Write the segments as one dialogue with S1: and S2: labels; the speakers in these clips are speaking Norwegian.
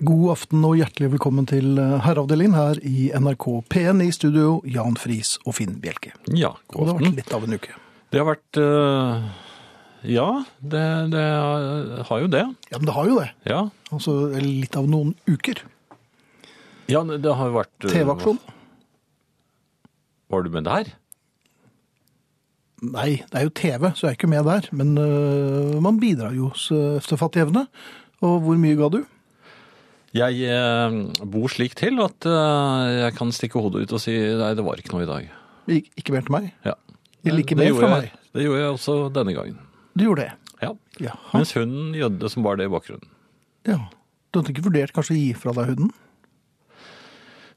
S1: God aften og hjertelig velkommen til eh, Herreavdelingen her i NRK P1 i studio, Jan Friis og Finn Bjelke.
S2: Ja,
S1: Og det
S2: god
S1: har vært
S2: aften.
S1: litt av en uke.
S2: Det har vært eh, Ja, det, det har- har jo det.
S1: Ja, men det har jo det.
S2: Ja.
S1: Altså eller litt av noen uker.
S2: ja, det har jo vært eh,
S1: TV-aksjon.
S2: Var du med der?
S1: Nei, det er jo TV, så jeg er ikke med der. Men øh, man bidrar jo så- efter fattig evne. Og hvor mye ga du?
S2: Jeg eh, bor slik til at eh, jeg kan stikke hodet ut og si nei, det var ikke noe i dag.
S1: Ik ikke mer til meg.
S2: Ja.
S1: Det liker mer
S2: gjorde
S1: fra
S2: jeg, det gjorde jeg også denne gangen.
S1: Du gjorde det.
S2: Ja.
S1: Jaha.
S2: Mens hunden gjødde som var det i bakgrunnen.
S1: Ja. Du hadde ikke vurdert kanskje å gi fra deg hunden?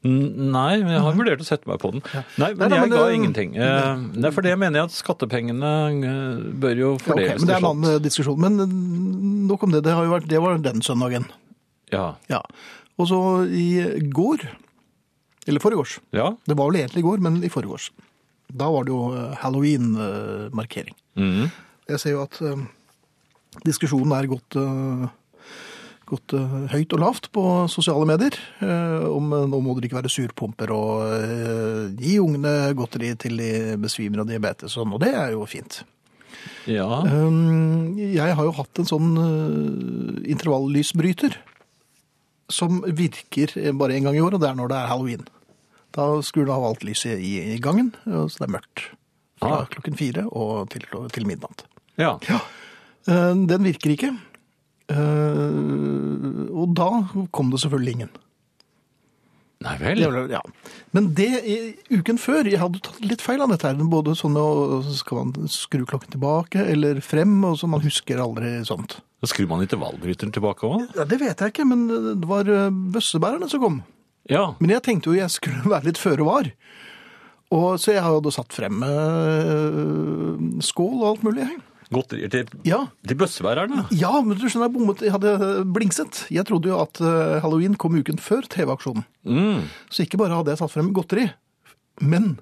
S2: N- Nei, men jeg har vurdert å sette meg på den. Nei,
S1: Nei, nei,
S2: men jeg
S1: men det- Mm.
S2: ga ingenting. Eh, Nei, for det mener jeg at skattepengene eh, bør jo
S1: Ja, ok,
S2: fordeles
S1: men det er en
S2: til slutt.
S1: annen eh, diskusjon. Men øh, nok om det. Det, har jo vært, det var den søndagen.
S2: Ja.
S1: Ja. Og så i går, eller forgårs,
S2: ja.
S1: det var vel egentlig i går, men i forgårs, da var det jo eh, Halloween-markering.
S2: Mhm.
S1: Jeg ser jo at eh, diskusjonen er gått, eh, gått eh, høyt og lavt på sosiale medier, eh, om eh, nå må dere ikke være surpumper og eh, gi ungene godteri til de besvimer av diabetes, og sånn, og det er jo fint.
S2: Ja.
S1: Um, Jeg har jo hatt en sånn uh, intervallysbryter som virker bare en gang i år, og det er når det er halloween. Da skrur den av alt lyset i, i gangen, og så det er mørkt. Fra
S2: Ah.
S1: klokken fire og til, til midnatt.
S2: Ja.
S1: Uh, Den virker ikke. Uh, og da kom det selvfølgelig ingen.
S2: Nei vel.
S1: Det var- Ja. Men det i uken før, jeg hadde tatt litt feil av dette her. Både sånn med å så skal man skru klokken tilbake eller frem, og så man husker aldri sånt.
S2: Da skrur man intervallbryteren tilbake òg?
S1: Ja, det vet jeg ikke, men det var eh, bøssebærerne som kom.
S2: Ja.
S1: Men jeg tenkte jo jeg skulle være litt føre var. Og, så jeg hadde satt frem eh, skål og alt mulig. jeg.
S2: Godterier til,
S1: Ja,
S2: til bøssebærerne?
S1: ja, men du skjønner, jeg bommet. Jeg hadde eh, blingset. Jeg trodde jo at eh, halloween kom uken før TV-aksjonen.
S2: Mm.
S1: Så ikke bare hadde jeg satt frem godteri, men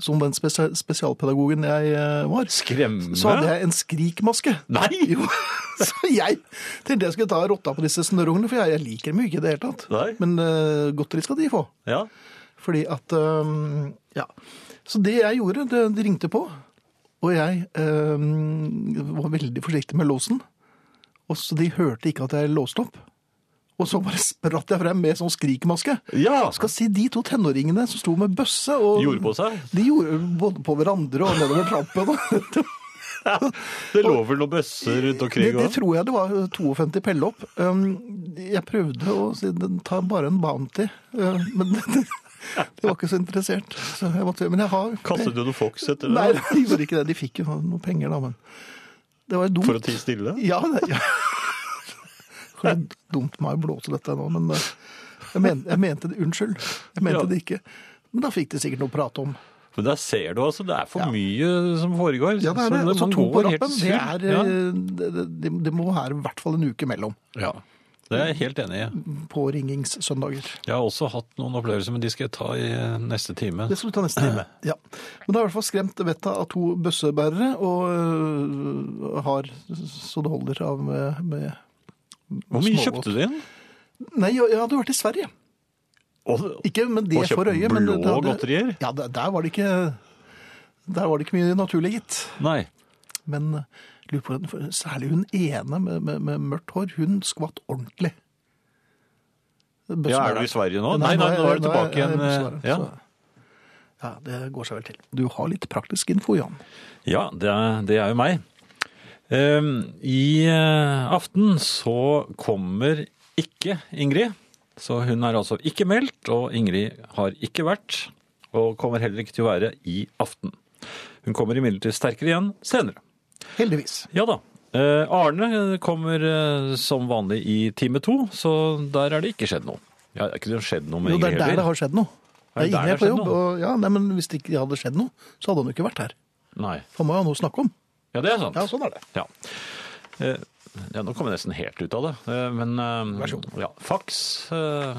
S1: som den spesial spesialpedagogen jeg eh, var,
S2: Skremme?
S1: så hadde jeg en skrikmaske.
S2: Nei!
S1: Jo, så jeg tenkte jeg skulle ta rotta på disse snørrungene, for jeg, jeg liker dem jo ikke i det hele tatt.
S2: Nei.
S1: Men eh, godteri skal de få.
S2: Ja.
S1: Fordi at eh, Ja. Så det jeg gjorde, det, de ringte på, og jeg eh, var veldig forsiktig med låsen. Og så de hørte ikke at jeg låste opp. Og så bare spratt jeg frem med sånn skrikmaske.
S2: ja.
S1: Skal si de to tenåringene som sto med bøsse og
S2: Gjorde på seg?
S1: De gjorde både på hverandre og nedover trappen. Det,
S2: Det lå vel noen bøsser rundt omkring?
S1: det
S2: også?
S1: tror jeg det var eh, 52 pelle opp. Um, Jeg prøvde å si den tar bare en Bounty, uh, men de var ikke så interessert. Så jeg måtte, men jeg har
S2: Kastet du noen Fox etter
S1: Nei,
S2: det?
S1: de gjorde ikke det. De fikk jo noen penger, da, men Det var jo dumt.
S2: For å tie stille?
S1: Ja, det ja. Det er dumt meg å blåse dette nå, men eh, jeg, men, jeg mente det. Unnskyld. Jeg mente
S2: Ja.
S1: det ikke. Men da fikk de sikkert noe å prate om.
S2: Men der ser du altså, det er for
S1: Ja.
S2: mye som foregår.
S1: Ja, det er det.
S2: Så
S1: Og så
S2: man
S1: to på
S2: går helt
S1: rappen. Det,
S2: sur.
S1: er, eh, det, det, det må være i hvert fall en uke mellom
S2: ja. ja. Det er jeg helt enig i.
S1: på ringingssøndager.
S2: Jeg har også hatt noen opplevelser, men de skal jeg ta i eh, neste time.
S1: Det skal du ta neste time. Ja. Men det har i hvert fall skremt vettet av to bøssebærere, og øh, har så det holder av med, med
S2: Hvor mye
S1: smågodt.
S2: kjøpte du inn?
S1: Nei, jeg, jeg hadde vært i Sverige.
S2: Og-
S1: Ikke med det
S2: Og kjøpt
S1: for øye, men det
S2: blå godterier?
S1: Ja, der, der var det ikke der var det ikke mye naturlig, gitt.
S2: Nei.
S1: Men øh, lurer på, hvordan- for særlig hun ene med, med, med mørkt hår, hun skvatt ordentlig.
S2: Ja, er du i Sverige nå? Nei, nei, nå er du tilbake
S1: jeg-
S2: igjen,
S1: jeg er i Sverige,
S2: ja.
S1: så- Ja, det går seg vel til. Du har litt praktisk info, Jan.
S2: Ja, det er, det er jo meg. Ehm, I eh, aften så kommer ikke Ingrid. Så hun er altså ikke meldt, og Ingrid har ikke vært. Og kommer heller ikke til å være i aften. Hun kommer imidlertid sterkere igjen senere.
S1: Heldigvis.
S2: Ja da. Eh, Arne kommer eh, som vanlig i time to, så der er det ikke skjedd noe. Ja, det er ikke det skjedd noe med
S1: Jo, det er
S2: Ingrid
S1: der det
S2: heller.
S1: har skjedd noe.
S2: Er det
S1: Jeg
S2: der
S1: er inne
S2: det har
S1: på
S2: skjedd
S1: jobb,
S2: noe?
S1: og, ja, nei, men hvis det ikke hadde skjedd noe, så hadde han jo ikke vært her.
S2: Nei.
S1: Han må jo ha noe å snakke om.
S2: Ja, det er sant.
S1: Ja, sånn er det.
S2: Ja. Eh, ja, nå kom jeg nesten helt ut av det. Eh, Men eh,
S1: Vær så god.
S2: ja, fax eh,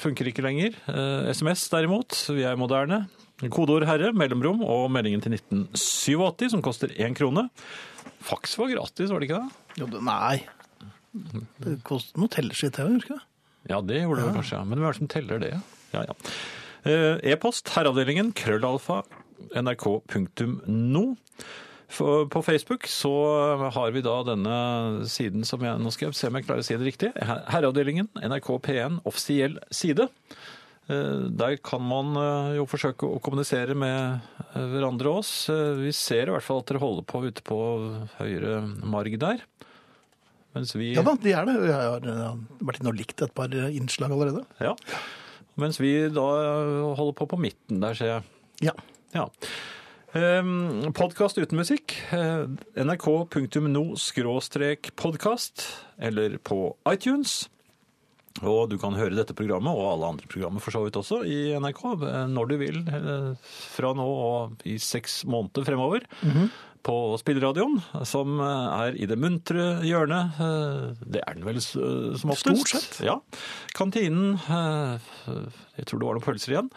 S2: funker ikke lenger. Eh, SMS derimot, vi er moderne. Kodeord herre, mellomrom og meldingen til 1987 som koster én krone. Fax var gratis, var det ikke det?
S1: Jo, det, nei. Det koster noe telleskitt her, husker jeg.
S2: Ja, det gjorde det kanskje, ja. Men hvem er det som teller det? Ja, ja. Eh, E-post herreavdelingen krøllalfa nrk.no. For- På Facebook så har vi da denne siden som jeg nå skal jeg se om jeg klarer å si det riktig. Her- Herreavdelingen NRK P1 offisiell side. Eh, Der kan man eh, jo forsøke å kommunisere med eh, hverandre og oss. Eh, Vi ser i hvert fall at dere holder på ute på høyre marg der. Mens vi
S1: Ja da, de er det. Jeg har eh, vært inne og likt et par eh, innslag allerede.
S2: Ja. Mens vi da holder på på midten der, ser jeg.
S1: Ja.
S2: Ja. Podkast uten musikk. Eh, nrk.no-podkast, eller på iTunes. Og du kan høre dette programmet, og alle andre programmer for så vidt også, i NRK eh, når du vil. eh, Fra nå og i seks måneder fremover.
S1: Mhm.
S2: På spilleradioen, som eh, er i det muntre hjørnet. eh, Det er den vel s- eh, som oftest?
S1: Stort sett.
S2: Ja. Kantinen eh, Jeg tror det var noen pølser igjen.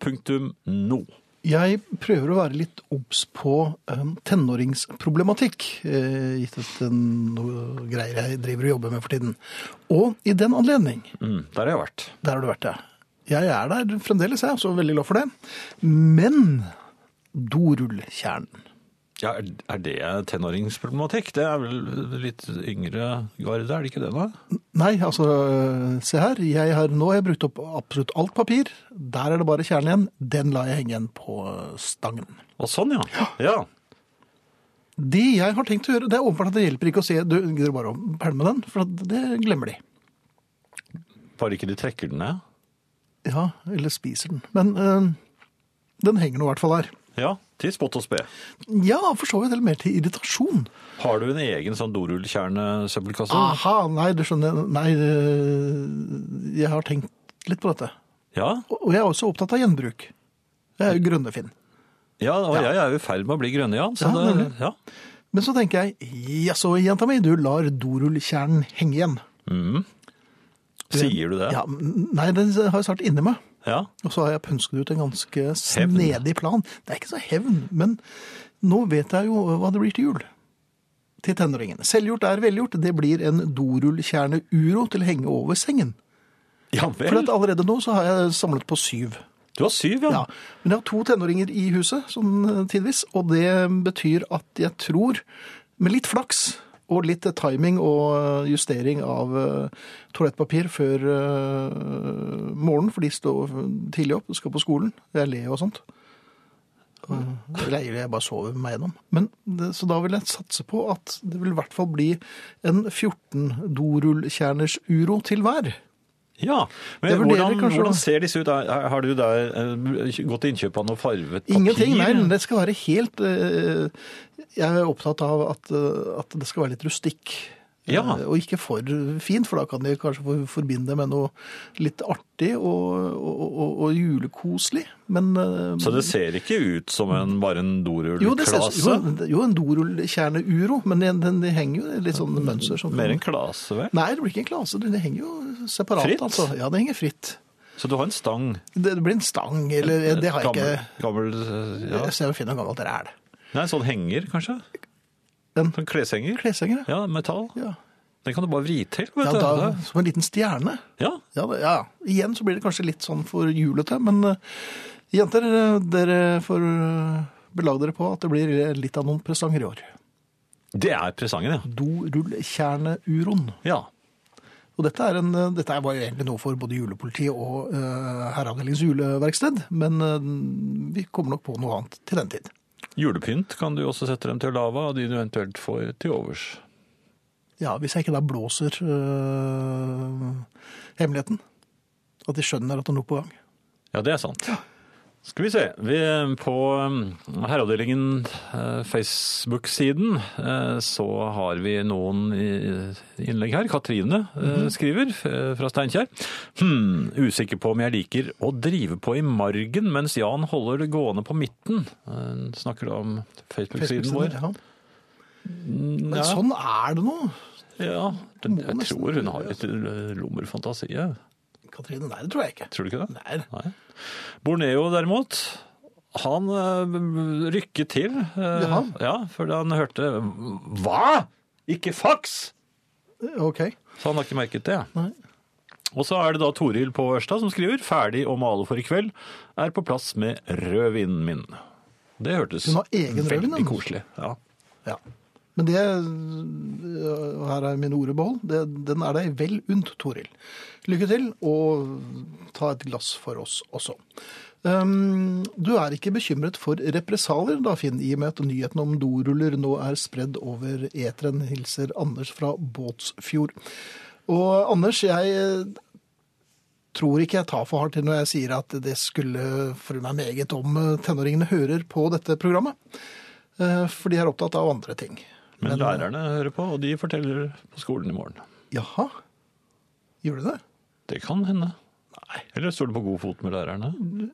S2: Punktum no.
S1: Jeg prøver å være litt obs på em, tenåringsproblematikk, eh, gitt at det er noe greier jeg driver og jobber med for tiden. Og i den anledning,
S2: Mm, der har jeg vært.
S1: der har du vært det. Jeg er der fremdeles, jeg, så veldig glad for det. Men dorullkjernen.
S2: Ja, er- er det tenåringsproblematikk? Det er vel litt yngre garde, er det ikke det nå?
S1: Nei, altså, øh, se her. Jeg har, nå har jeg brukt opp absolutt alt papir. Der er det bare kjernen igjen. Den lar jeg henge igjen på øh, stangen.
S2: Å, sånn ja. Ja,
S1: Det jeg har tenkt å gjøre, det er åpenbart at det hjelper ikke å se Du gidder bare å pælme den, for at det glemmer de.
S2: bare ikke de trekker den ned.
S1: Ja, eller spiser den. Men øh, den henger nå i hvert fall der.
S2: Ja, til spott og spe.
S1: Ja, for så vidt. Eller mer til irritasjon.
S2: Har du en egen sånn dorullkjernesøppelkasse?
S1: Aha, nei, det skjønner jeg. Nei, øh, jeg har tenkt litt på dette.
S2: Ja,
S1: Og og jeg er også opptatt av gjenbruk. Jeg er jo Grønnefinn.
S2: ja og jeg er jo i ferd med å bli grønne, ja. Så
S1: Ja,
S2: det, ja.
S1: Men så tenker jeg, jaså jenta mi, du lar dorullkjernen henge igjen.
S2: Mm. Sier du det?
S1: Ja, men nei, den har jeg snart inni meg.
S2: Ja.
S1: Og så har jeg pønsket ut en ganske snedig plan. Det er ikke så hevn, men nå vet jeg jo hva det blir til jul. Til tenåringene. Selvgjort er velgjort. Det blir en dorullkjerne-uro til å henge over sengen.
S2: ja
S1: For at
S2: vel.
S1: allerede nå så har jeg samlet på syv.
S2: Du har syv, ja.
S1: Ja, men jeg har to tenåringer i huset, sånn eh, tidvis, og det betyr at jeg tror, med litt flaks og litt eh, timing og eh, justering av eh, toalettpapir før eh, morgenen, for de står tidlig opp og skal på skolen. Jeg ler jo og sånt. Eh, Eller jeg, jeg bare sover meg gjennom. Men, det- så da vil jeg satse på at det vil i hvert fall bli en 14 dorullkjerners uro til hver.
S2: Ja, men
S1: Jeg vurderer
S2: hvordan,
S1: kanskje å-
S2: hvordan ser disse ut? Er- Har du der eh, gått til innkjøp av noe farvet papir?
S1: Ingenting, nei. men Det skal være helt eh, Jeg er opptatt av at, eh, at det skal være litt rustikk.
S2: Ja.
S1: Eh, Og ikke for fint, for da kan de kanskje for- forbinde det med noe litt artig og, og, og, og julekoselig. Men eh,
S2: Så det ser ikke ut som en, bare en
S1: jo, det ser, jo,
S2: dorullklase?
S1: jo, en dorullkjerneuro, men den, den, det henger jo litt sånn mønster. Som,
S2: Mer en klase, vel?
S1: Nei, det blir ikke en klase. Det det henger jo separat.
S2: Fritt?
S1: Altså. Ja, det henger fritt.
S2: Så du har en stang?
S1: Det, det blir en stang, eller Det har jeg
S2: gammel,
S1: ikke
S2: Gammel, eh, ja.
S1: Jeg ser å finne noe gammelt ræl.
S2: Nei, en sånn henger, kanskje?
S1: En-
S2: Sånn kleshenger?
S1: Kleshenger, ja.
S2: Ja, metall.
S1: ja.
S2: Den kan du bare vri til, vet
S1: Ja,
S2: du.
S1: da, som en liten stjerne.
S2: Ja,
S1: Ja, det, ja, ja. Igjen så blir det kanskje litt sånn for julete, men eh, jenter, eh, dere får eh, belage dere på at det blir litt av noen presanger i år.
S2: det er presangen, ja.
S1: Dorullkjerneuroen.
S2: Ja,
S1: Og dette, er en, eh, dette var jo egentlig noe for både julepolitiet og uh, Herreavdelingens juleverksted, men eh, vi kommer nok på noe annet til den tid.
S2: Julepynt kan du også sette dem til lava, og de du eventuelt får til overs.
S1: Ja, Hvis jeg ikke da blåser eh, hemmeligheten. At de skjønner at det er noe på gang.
S2: Ja, det er sant. Skal vi se. Vi, på um, herreavdelingen eh, Facebook-siden eh, så har vi noen i- innlegg her. Katrine eh,
S1: Mhm.
S2: skriver eh, fra Steinkjer. Hm, usikker på om jeg liker å drive på i margen mens Jan holder det gående på midten. Eh, snakker da om Facebook-siden
S1: Facebook-sider,
S2: vår.
S1: ja. Men
S2: Ja.
S1: sånn er det nå.
S2: Ja,
S1: må
S2: jeg
S1: nesten
S2: tror hun har
S1: gjøre
S2: litt eh, lommer fantasi. jeg.
S1: Katrine, nei, det tror jeg ikke.
S2: Tror du ikke det?
S1: Nei.
S2: Nei. Borneo derimot, han eh, rykket til. eh,
S1: Jaha.
S2: ja, for han hørte Hva?! Ikke faks!
S1: Ok. Eh,
S2: Så han har ikke merket det.
S1: Nei.
S2: Og så er det da Toril på Ørsta som skriver 'Ferdig å male for i kveld. Er på plass med rødvinen min'. Det hørtes
S1: Hun har egen rødvin,
S2: veldig
S1: ja.
S2: koselig Ja.
S1: Ja. Men det, øh, og her er mine ord i behold, det, den er deg vel unt, Toril. Lykke til, og ta et glass for oss også. Ehm, du er ikke bekymret for represalier, da, Finn, i og med at nyheten om doruller nå er spredd over eteren, hilser Anders fra Båtsfjord. Og Anders, jeg øh, tror ikke jeg tar for hardt til når jeg sier at det skulle fry meg meget om øh, tenåringene hører på dette programmet. Eh, For de er opptatt av andre ting.
S2: Men lærerne hører på, og de forteller på skolen i morgen.
S1: Jaha, gjør de det?
S2: Det kan hende. Nei. Eller står du på god fot med lærerne?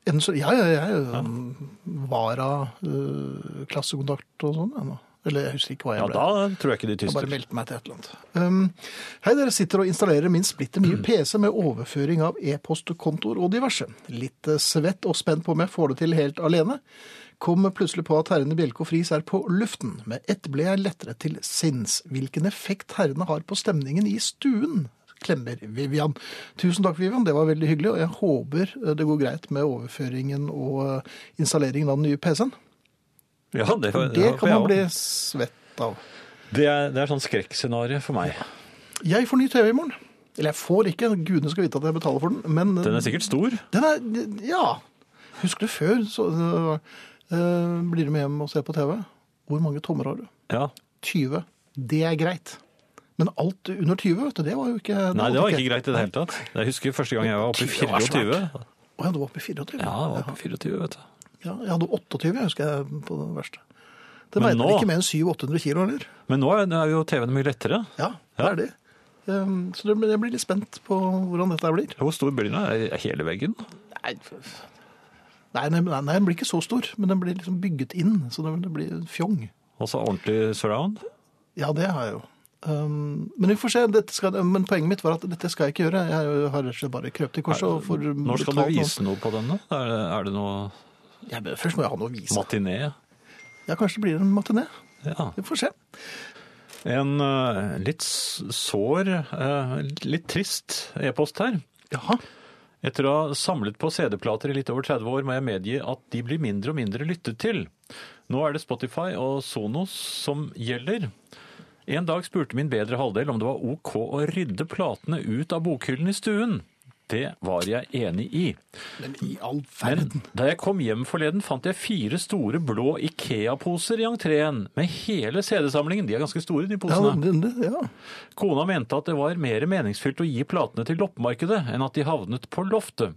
S1: Enn så, ja, ja, jeg um, var av eh, klassekontakt og sånn. jeg nå. Eller jeg husker ikke hva jeg
S2: Ja,
S1: ble.
S2: da tror jeg ikke de
S1: Jeg bare
S2: tyster.
S1: meldte meg til et eller annet. Um, hei, dere sitter og installerer min splitter
S2: Mm.
S1: nye PC med overføring av e-postkontor og diverse. Litt eh, svett og spent på om jeg får det til helt alene. Kom plutselig på at herrene Bjelke og Friis er på luften. Med ett ble jeg lettere til sinns. Hvilken effekt herrene har på stemningen i stuen? Klemmer Vivian. Tusen takk, Vivian. Det var veldig hyggelig. Og jeg håper eh, det går greit med overføringen og eh, installeringen av den nye PC-en.
S2: Ja, det,
S1: Det
S2: håper
S1: kan
S2: jeg
S1: man bli
S2: også.
S1: svett av.
S2: det er, det er sånn skrekkscenario for meg.
S1: Jeg får ny TV i morgen. Eller jeg får ikke, gudene skal vite at jeg betaler for den. Men
S2: Den er sikkert stor.
S1: den er- Ja. Husker du før, så øh, blir du med hjem og ser på TV. Hvor mange tommer har du?
S2: Ja.
S1: 20. Det er greit. Men alt under 20, vet du, det var jo ikke
S2: Nei, det var ikke greit i det hele tatt. Jeg husker første gang jeg var oppe i
S1: Det var svært.
S2: 24.
S1: Å ja, du var oppe i 24?
S2: Ja, jeg var oppe i 24, vet du.
S1: Ja, jeg hadde 28, jeg husker jeg, på det verste. Det
S2: Men
S1: veide vel
S2: nå-
S1: ikke mer enn 700-800 kilo heller.
S2: Men nå er- nå er jo TV-en mye lettere.
S1: Ja, det
S2: Ja.
S1: er det. Ehm, Så det- jeg blir litt spent på hvordan dette her blir.
S2: Hvor stor blir den? Er det hele veggen?
S1: Nei, nei, nei, nei, den blir ikke så stor, men den blir liksom bygget inn, så den det blir fjong.
S2: Og så ordentlig surround?
S1: Ja, det har jeg jo. Um, men vi får se, dette skal, men poenget mitt var at dette skal jeg ikke gjøre. Jeg har rett og slett bare krøpt i korset. og får
S2: Når skal du
S1: betalt
S2: vise noe på denne? Er det, er det noe
S1: noe. Ja, men først må jeg ha noe å vise.
S2: matiné?
S1: Ja, kanskje det blir en matiné.
S2: Ja.
S1: Vi får se.
S2: En eh, litt s- sår, eh, litt trist e-post her.
S1: Jaha.
S2: Etter å ha samlet på CD-plater i litt over 30 år, må jeg medgi at de blir mindre og mindre lyttet til. Nå er det Spotify og Sonos som gjelder. En dag spurte min bedre halvdel om det var ok å rydde platene ut av bokhyllen i stuen. Det var jeg enig i.
S1: Men i all
S2: Men
S1: verden.
S2: da jeg kom hjem forleden, fant jeg fire store blå Ikea-poser i entreen med hele CD-samlingen. De Sånn er ganske store, de
S1: Ja,
S2: posene.
S1: det, det, ja.
S2: Kona mente at det var mer meningsfylt å gi platene til loppemarkedet enn at de havnet på loftet.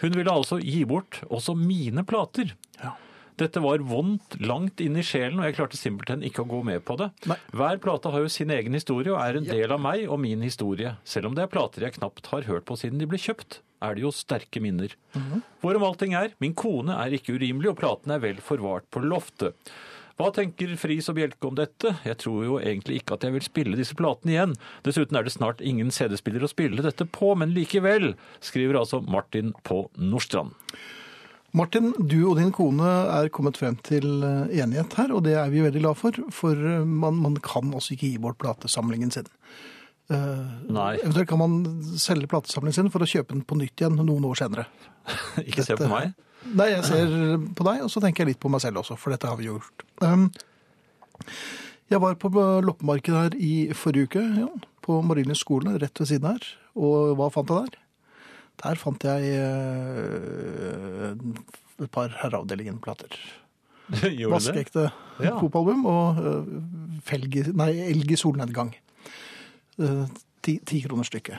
S2: Hun ville altså gi bort også mine plater.
S1: Ja.
S2: Dette var vondt langt inn i sjelen, og jeg klarte simpelthen ikke å gå med på det.
S1: Nei.
S2: Hver plate har jo sin egen historie og er en del av meg og min historie. Selv om det er plater jeg knapt har hørt på siden de ble kjøpt, er det jo sterke minner. Hvorom allting er, min kone er ikke urimelig, og platene er vel forvart på loftet. Hva tenker Friis og Bjelke om dette? Jeg tror jo egentlig ikke at jeg vil spille disse platene igjen. Dessuten er det snart ingen CD-spiller å spille dette på, men likevel, skriver altså Martin på Nordstrand.
S1: Martin, du og din kone er kommet frem til eh, enighet her, og det er vi veldig glad for. For eh, man, man kan altså ikke gi bort platesamlingen sin. Eh,
S2: Nei.
S1: Eventuelt kan man selge platesamlingen sin for å kjøpe den på nytt igjen noen år senere.
S2: Ikke se på meg.
S1: Nei, jeg ser på deg, og så tenker jeg litt på meg selv også, for dette har vi gjort. Um, jeg var på loppemarkedet her i forrige uke, Jan, på Marienlyst skole, rett ved siden her. Og hva fant jeg der? Der fant jeg eh, et par herreavdelingen-plater.
S2: Gjorde du det?
S1: Vaskeekte
S2: Ja.
S1: Coop-album og eh, felg, nei, Elg i solnedgang. Eh, Ti, ti kroner stykket.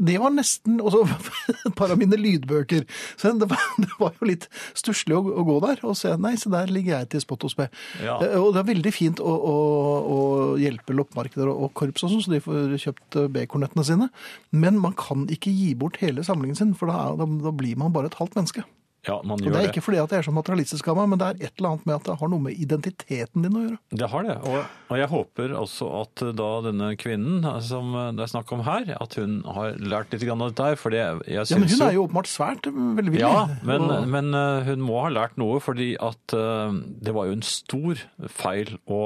S1: Det var nesten Og så et par av mine lydbøker. Så det var, det var jo litt stusslig å, å gå der og se. Nei, se der ligger jeg til spott og spe.
S2: Ja.
S1: Eh, Og det er veldig fint å, å, å hjelpe loppemarkeder og korps og sånn, så de får kjøpt eh, B-kornettene sine. Men man kan ikke gi bort hele samlingen sin, for da, er- da, da blir man bare et halvt menneske.
S2: Ja, man
S1: Og
S2: gjør
S1: det er
S2: det.
S1: ikke fordi at jeg er så materialistisk av meg, men det er et eller annet med at det har noe med identiteten din å gjøre.
S2: Det har det. Og, og jeg håper også at eh, da denne kvinnen eh, som det er snakk om her, at hun har lært litt grann av dette her. For det, jeg
S1: Ja, men
S2: syns
S1: Hun er jo åpenbart svært velvillig.
S2: Ja, men, eh,
S1: og-
S2: men eh, hun må ha lært noe, fordi at eh, det var jo en stor feil å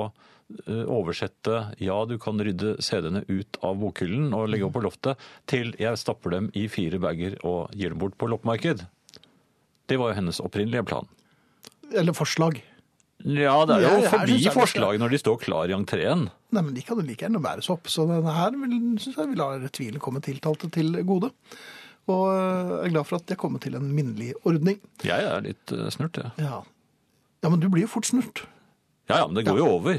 S2: eh, oversette 'ja, du kan rydde CD-ene ut av bokhyllen og legge opp på loftet' til 'jeg stapper dem i fire bager og gir dem bort på loppemarked'. Det var jo hennes opprinnelige plan.
S1: Eller forslag.
S2: Ja, det er
S1: Ja,
S2: jo
S1: jeg
S2: forbi
S1: synes det er
S2: forslag når de står klar i entreen.
S1: Nei, men de kan jo like gjerne bæres opp, så denne her vil- synes jeg vi lar tvilen komme tiltalte til gode. Og eh, jeg er glad for at jeg kommer til en minnelig ordning.
S2: Jeg er litt eh, snurt, jeg. Ja.
S1: Ja, ja men du blir jo fort snurt
S2: ja ja, men det går jo over.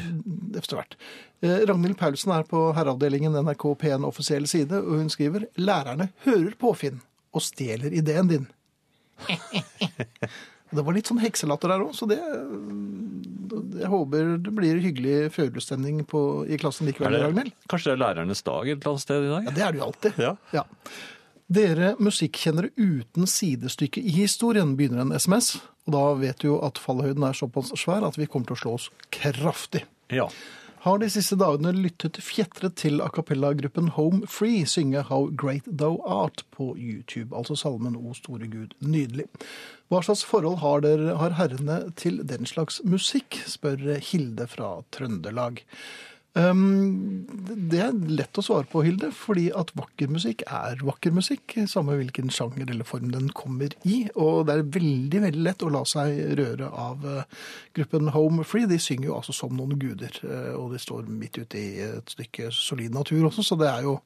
S1: efter hvert. Eh, Ragnhild Paulsen er på herreavdelingen NRK P1 offisiell side, og hun skriver «Lærerne hører påfinn og stjeler ideen din». Det var litt sånn hekselatter der også, så det, eh, jeg håper det blir hyggelig følelsestemning på- i klassen
S2: Er
S1: likevel, Ragnhild.
S2: det, kanskje det er lærernes dag et eller annet sted i dag?
S1: Ja, det er det jo alltid.
S2: Ja.
S1: Dere musikkkjennere uten sidestykke i historien begynner en SMS, og da vet du jo at fallhøyden er såpass svær at vi kommer til å slå oss kraftig.
S2: Ja.
S1: Har de siste dagene lyttet fjetret til a cappella-gruppen Home Free synge How Great Thou Art på YouTube, altså salmen O store Gud, nydelig. Hva slags forhold har, dere, har herrene til den slags musikk, spør Hilde fra Trøndelag. Um, det er lett å svare på, Hilde, fordi at vakker musikk er vakker musikk, samme hvilken sjanger eller form den kommer i, og det er veldig, veldig lett å la seg røre av eh, gruppen Home Free. De synger jo altså som noen guder, eh, og de står midt ute i et stykke solid natur også, så det er jo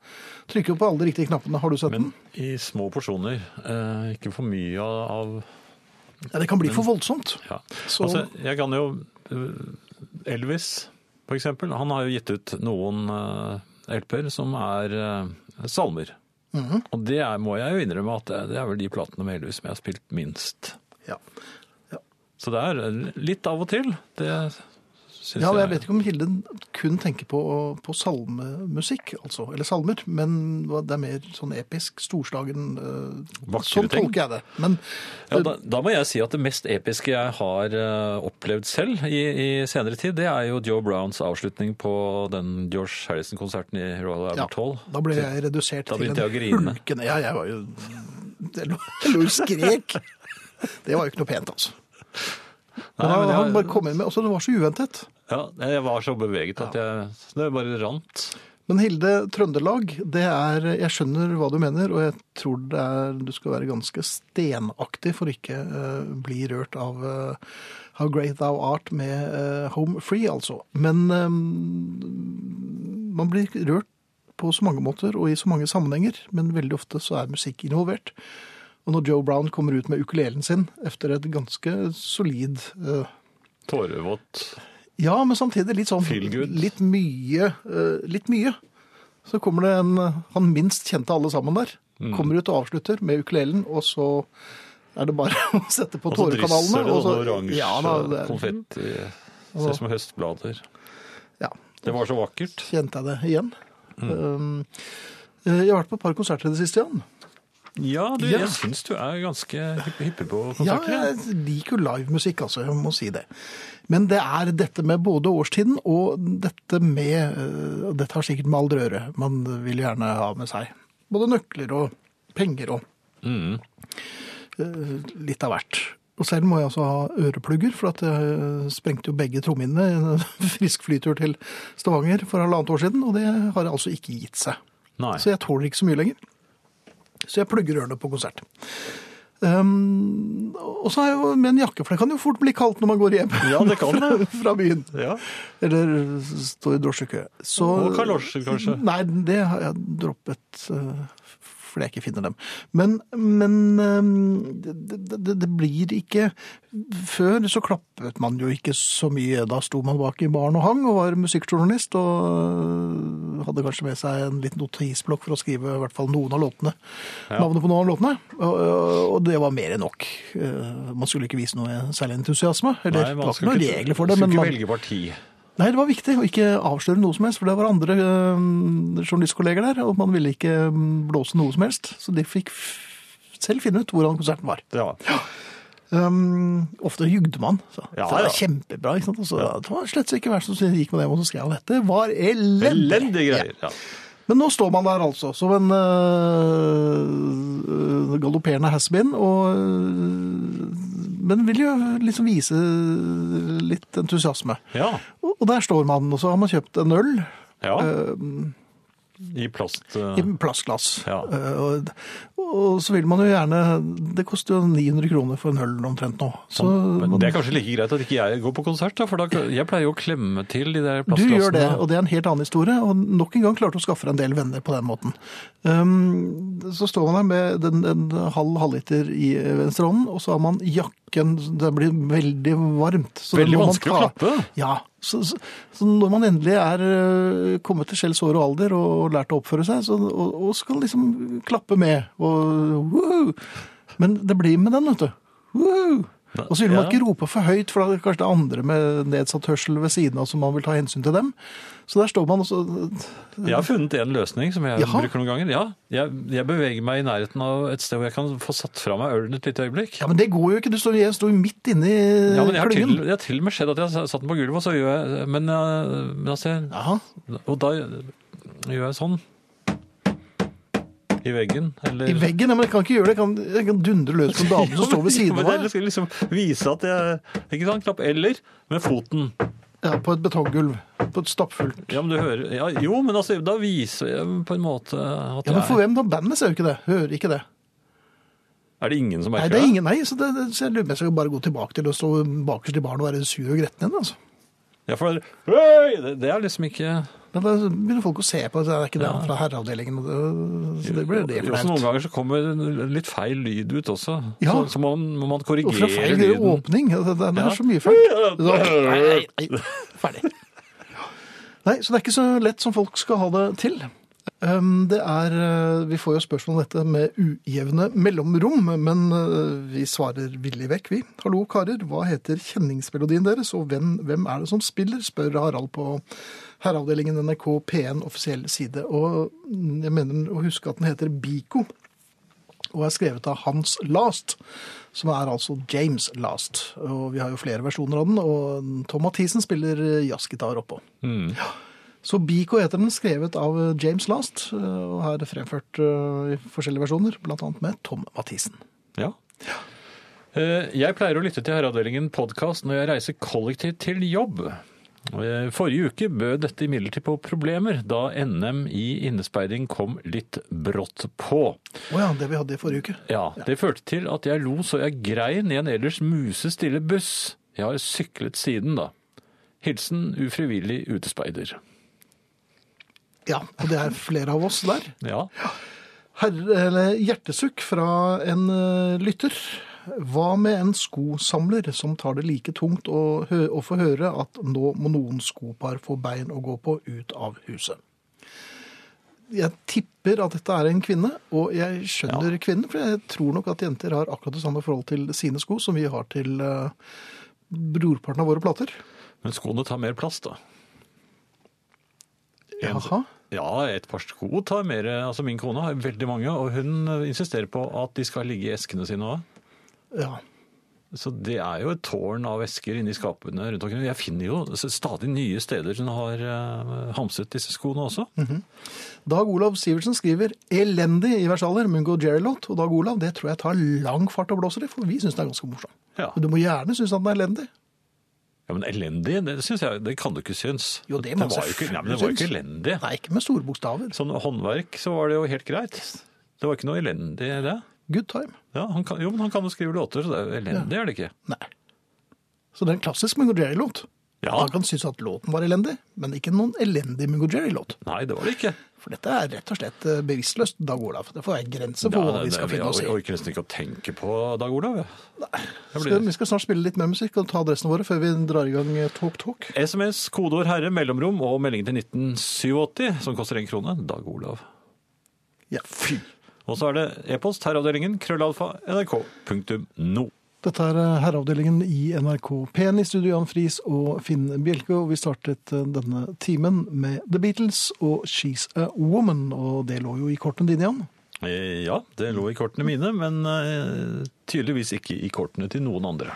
S1: Trykker jo på alle de riktige knappene, har du sett den?
S2: Men i små porsjoner. Eh, ikke for mye av- av
S1: Ja, det kan bli for voldsomt.
S2: ja.
S1: Så-
S2: Altså, jeg kan jo eh, Elvis, for eksempel. Han har jo gitt ut noen eh, LP-er som er eh, salmer.
S1: Mhm.
S2: Og det er, må jeg jo innrømme at det, det er vel de platene med Elvis som jeg har spilt minst.
S1: Ja.
S2: Så det er eh, litt av og til. Det syns
S1: Ja, og jeg
S2: jeg
S1: vet ikke om Hilde kun tenker på, på salmemusikk, altså, eller salmer, men det er mer sånn episk, storslagen eh,
S2: Vakre
S1: Sånn
S2: ting.
S1: tolker jeg det. Men
S2: Ja, da, da må jeg si at det mest episke jeg har eh, opplevd selv i, i senere tid, det er jo Joe Browns avslutning på den George Harrison-konserten i Royal
S1: ja,
S2: Albert Hall.
S1: da ble jeg redusert
S2: Da
S1: til en
S2: begynte jeg å grine.
S1: hulkende Ja, jeg var jo Jeg lå jeg lå og skrek. Det var jo ikke noe pent, altså.
S2: Nei,
S1: Men
S2: men
S1: han,
S2: jeg-
S1: han bare kom inn med Også det var så uventet.
S2: Ja, jeg var så beveget at jeg, det bare rant.
S1: Men Hilde, Trøndelag, det er Jeg skjønner hva du mener, og jeg tror det er Du skal være ganske stenaktig for ikke eh, bli rørt av eh, How Great Thou Art med eh, Home Free, altså. Men eh, man blir rørt på så mange måter og i så mange sammenhenger, men veldig ofte så er musikk involvert. Og når Joe Brown kommer ut med ukulelen sin etter et ganske solid eh,
S2: Tårevått.
S1: ja, men samtidig litt sånn
S2: Feel good.
S1: litt mye. eh, litt mye. Så kommer det en eh, han minst kjente av alle sammen der.
S2: Mm.
S1: Kommer ut og avslutter med ukulelen, og så er det bare å sette på
S2: Og så
S1: tårekanalene.
S2: drysser det noe
S1: så-
S2: oransje
S1: ja, da, det-
S2: konfetti. Ser ut som høstblader.
S1: Ja,
S2: Det var så vakkert.
S1: kjente jeg det igjen.
S2: Mm.
S1: Um, eh, jeg har vært på et par konserter i det siste, Jan.
S2: Ja, du,
S1: Ja.
S2: jeg syns du er ganske hypp- hyppig på
S1: Ja,
S2: konserter. jeg.
S1: jeg liker jo livemusikk, altså. Jeg må si det. Men det er dette med både årstiden og dette med eh, og Dette har sikkert med alder å gjøre. Man vil gjerne ha med seg både nøkler og penger og eh, litt av hvert. Og selv må jeg altså ha øreplugger, for at jeg eh, sprengte jo begge trommehinnene i en frisk flytur til Stavanger for halvannet år siden, og det har altså ikke gitt seg.
S2: Nei.
S1: Så jeg tåler ikke så mye lenger. Så jeg plugger ørene på konsert. Um, og så har jeg jo med en jakke, for det kan jo fort bli kaldt når man går hjem
S2: Ja, det kan det.
S1: fra byen.
S2: Ja.
S1: Eller står i drosjekø. Så,
S2: Og kalosjer, kanskje.
S1: Nei, det har jeg droppet eh, fordi jeg ikke finner dem. Men, men eh, det, det, det blir ikke Før så klappet man jo ikke så mye. Da sto man bak i baren og hang og var musikkjournalist og eh, hadde kanskje med seg en liten notisblokk for å skrive i hvert fall noen av låtene. Navnet på noen av låtene. Og, og det var mer enn nok. Eh, Man skulle ikke vise noe særlig entusiasme. Eller,
S2: Nei,
S1: det
S2: man
S1: var ikke
S2: skulle
S1: noen
S2: ikke-
S1: regler for det. men
S2: Skulle
S1: man,
S2: ikke velge parti.
S1: Nei, det var viktig å ikke avsløre noe som helst, for det var andre øhm, journalistkolleger der, og man ville ikke øhm, blåse noe som helst, så de fikk f- selv finne ut hvordan konserten var.
S2: Ja.
S1: Øhm, ofte jugde man. Så.
S2: Ja,
S1: det var
S2: ja.
S1: kjempebra, ikke sant? Og så, Det var slett ikke verst som gikk med det, og så skrev han dette. var elendig.
S2: Elendige greier. Ja.
S1: Men nå står man der altså, som en øh, øh, galopperende has-been, og, eh, øh, men vil jo liksom vise litt entusiasme.
S2: ja.
S1: Og, Og der står man, og så har man kjøpt en øl
S2: Ja,
S1: eh,
S2: i plast.
S1: i
S2: eh,
S1: plastglass.
S2: Ja.
S1: Eh, og, og så vil man jo gjerne Det koster jo 900 kroner for en øl omtrent nå. Så
S2: Men
S1: man-
S2: det er kanskje like greit at ikke jeg går på konsert, da, for da, jeg pleier jo å klemme til de der
S1: Du
S2: plastglassene.
S1: gjør det, og det er en helt annen historie. Og nok en gang klarte å skaffe deg en del venner på den måten. Um, så står man der med den, en halv halvliter i venstre hånd, og så har man jakken Det blir veldig varmt. så den
S2: Veldig
S1: må man
S2: vanskelig å
S1: ta-
S2: klappe.
S1: Ja. Så, så, så når man endelig er øh, kommet til skjells år og alder og, og lært å oppføre seg, så, og, og skal liksom klappe med og woohoo. Men det blir med den, vet du. Woohoo. Og så vil man
S2: Ja.
S1: ikke rope for høyt, for da er det kanskje det andre med nedsatt hørsel ved siden av som man vil ta hensyn til dem. Så der står man også
S2: Jeg har funnet en løsning som jeg
S1: Jaha.
S2: bruker noen ganger. Ja, jeg, jeg beveger meg i nærheten av et sted hvor jeg kan få satt fra meg ølen et lite øyeblikk.
S1: Ja, men det går jo ikke. Du står, jeg står jo midt inne i
S2: Ja, men jeg har, til,
S1: klyngen.
S2: jeg har til og med skjedd at jeg har satt den på gulvet, og så gjør jeg Men, eh, men altså, jeg-
S1: Jaha.
S2: Og da gjør jeg sånn. I veggen, eller
S1: I veggen? Ja, men jeg kan ikke gjøre det. Jeg kan, jeg kan dundre løs på en dame som står ved
S2: Ja,
S1: siden
S2: men
S1: av
S2: Jeg
S1: deg
S2: skal liksom vise at jeg Ikke sant? Klapp. Eller med foten.
S1: ja, på et betonggulv. På et stappfullt
S2: Ja, men du hører ja, Jo, men altså, da viser jeg på en måte at
S1: Ja, men for
S2: jeg
S1: hvem da? Bandet ser jo ikke det. Hører ikke det.
S2: er det ingen som
S1: Nei,
S2: merker
S1: det er ingen, nei, så, det, det- så jeg lurer på om jeg skal bare gå tilbake til å stå bakerst i baren og være sur og gretten igjen. altså.
S2: Ja, for Hei! det, det er liksom ikke
S1: Men da begynner folk å se på at det er ikke det han fra herreavdelingen. og det- Så det blir det
S2: Jo,
S1: for
S2: også Noen
S1: flaut.
S2: ganger så kommer en litt feil lyd ut også.
S1: Ja.
S2: Så, så må, man- må man
S1: Og
S2: korrigere
S1: fra feil
S2: lyden.
S1: åpning. Det, det, det
S2: Ja.
S1: er så mye fælt. Så- Nei, nei, nei. Ferdig. Nei, så det er ikke så lett som folk skal ha det til. Um, Det er, eh, Vi får jo spørsmål om dette med ujevne mellomrom, men eh, vi svarer villig vekk, vi. Hallo, karer. Hva heter kjenningsmelodien deres, og hvem, hvem er det som spiller? spør Harald på Herreavdelingen NRK P1 offisiell side. Og mm, jeg mener å huske at den heter Biko, og er skrevet av Hans Last, som er altså James Last. Og vi har jo flere versjoner av den, og Tom Mathisen spiller eh, jazzgitar oppå.
S2: Mm.
S1: Så Biko heter den, skrevet av eh, James Last, eh, og her fremført eh, i forskjellige versjoner, blant annet med Tom Mathisen.
S2: Ja. Eh, Jeg pleier å lytte til Herreavdelingen podkast når jeg reiser kollektivt til jobb. Eh, Forrige uke bød dette imidlertid på problemer, da NM i innespeiding kom litt brått på.
S1: Å ja, det vi hadde i forrige uke.
S2: Ja, Det førte til at jeg lo så jeg grein i en ellers musestille buss. Jeg har syklet siden, da. Hilsen ufrivillig utespeider.
S1: Ja, og det er flere av oss der.
S2: Ja.
S1: Herre, eller hjertesukk fra en eh, lytter. Hva med en skosamler som tar det like tungt å, hø å få høre at nå må noen skopar få bein å gå på ut av huset? Jeg tipper at dette er en kvinne, og jeg skjønner kvinnen, for jeg tror nok at jenter har akkurat det samme forhold til sine sko som vi har til eh, brorparten av våre plater.
S2: Men skoene tar mer plass, da. Ja.
S1: Jaha.
S2: Ja, et par sko tar mer Altså, min kone har veldig mange, og hun insisterer på at de skal ligge i eskene sine òg.
S1: Ja.
S2: Så det er jo et tårn av esker inni skapene rundt omkring. Jeg finner jo stadig nye steder hun har eh, hamset disse skoene også.
S1: Mm. Dag Olav Sivertsen skriver 'elendig i versaler, Mungo Jerry-låt'. Og Dag Olav, det tror jeg tar lang fart og blåser i, for vi syns den er ganske morsom.
S2: Ja.
S1: Men du må gjerne synes at den er elendig.
S2: ja, men elendig, det syns jeg Det kan du ikke synes.
S1: Jo, det må
S2: det var jo
S1: selvfølgelig
S2: ikke, Nei, men det var jo ikke
S1: synes.
S2: elendig.
S1: Nei, ikke med store bokstaver.
S2: Sånn håndverk, så var det jo helt greit. Det var ikke noe elendig i det.
S1: Good time.
S2: Ja, han kan, jo, men han kan jo skrive låter, så det er jo elendig, er det ikke?
S1: Nei. Så det er en klassisk Mungo Jerry-låt.
S2: Ja.
S1: Man kan synes at låten var elendig, men ikke noen elendig Mungo Jerry-låt.
S2: Nei, det var det ikke.
S1: For dette er rett og slett eh, bevisstløst, Dag Olav. Det får være en grense for hva vi skal
S2: jeg
S1: finne oss i.
S2: orker nesten ikke å tenke på Dag Olav. jeg. Jeg blir-
S1: Skal, vi skal snart spille litt mer musikk og ta adressene våre før vi drar i gang eh, Talk Talk.
S2: SMS, kodeord herre, mellomrom og melding til 1987, som koster én krone. Dag Olav.
S1: Ja. Fy.
S2: Og så er det e-post herreavdelingen krøllalfa nrk.no.
S1: Dette er eh, herreavdelingen i NRK P1 i studio Jan Friis og Finn Bjelke, og vi startet eh, denne timen med The Beatles og She's a Woman, og det lå jo i kortene dine, Jan.
S2: Eh, Ja, det lå i kortene mine, men eh, tydeligvis ikke i kortene til noen andre.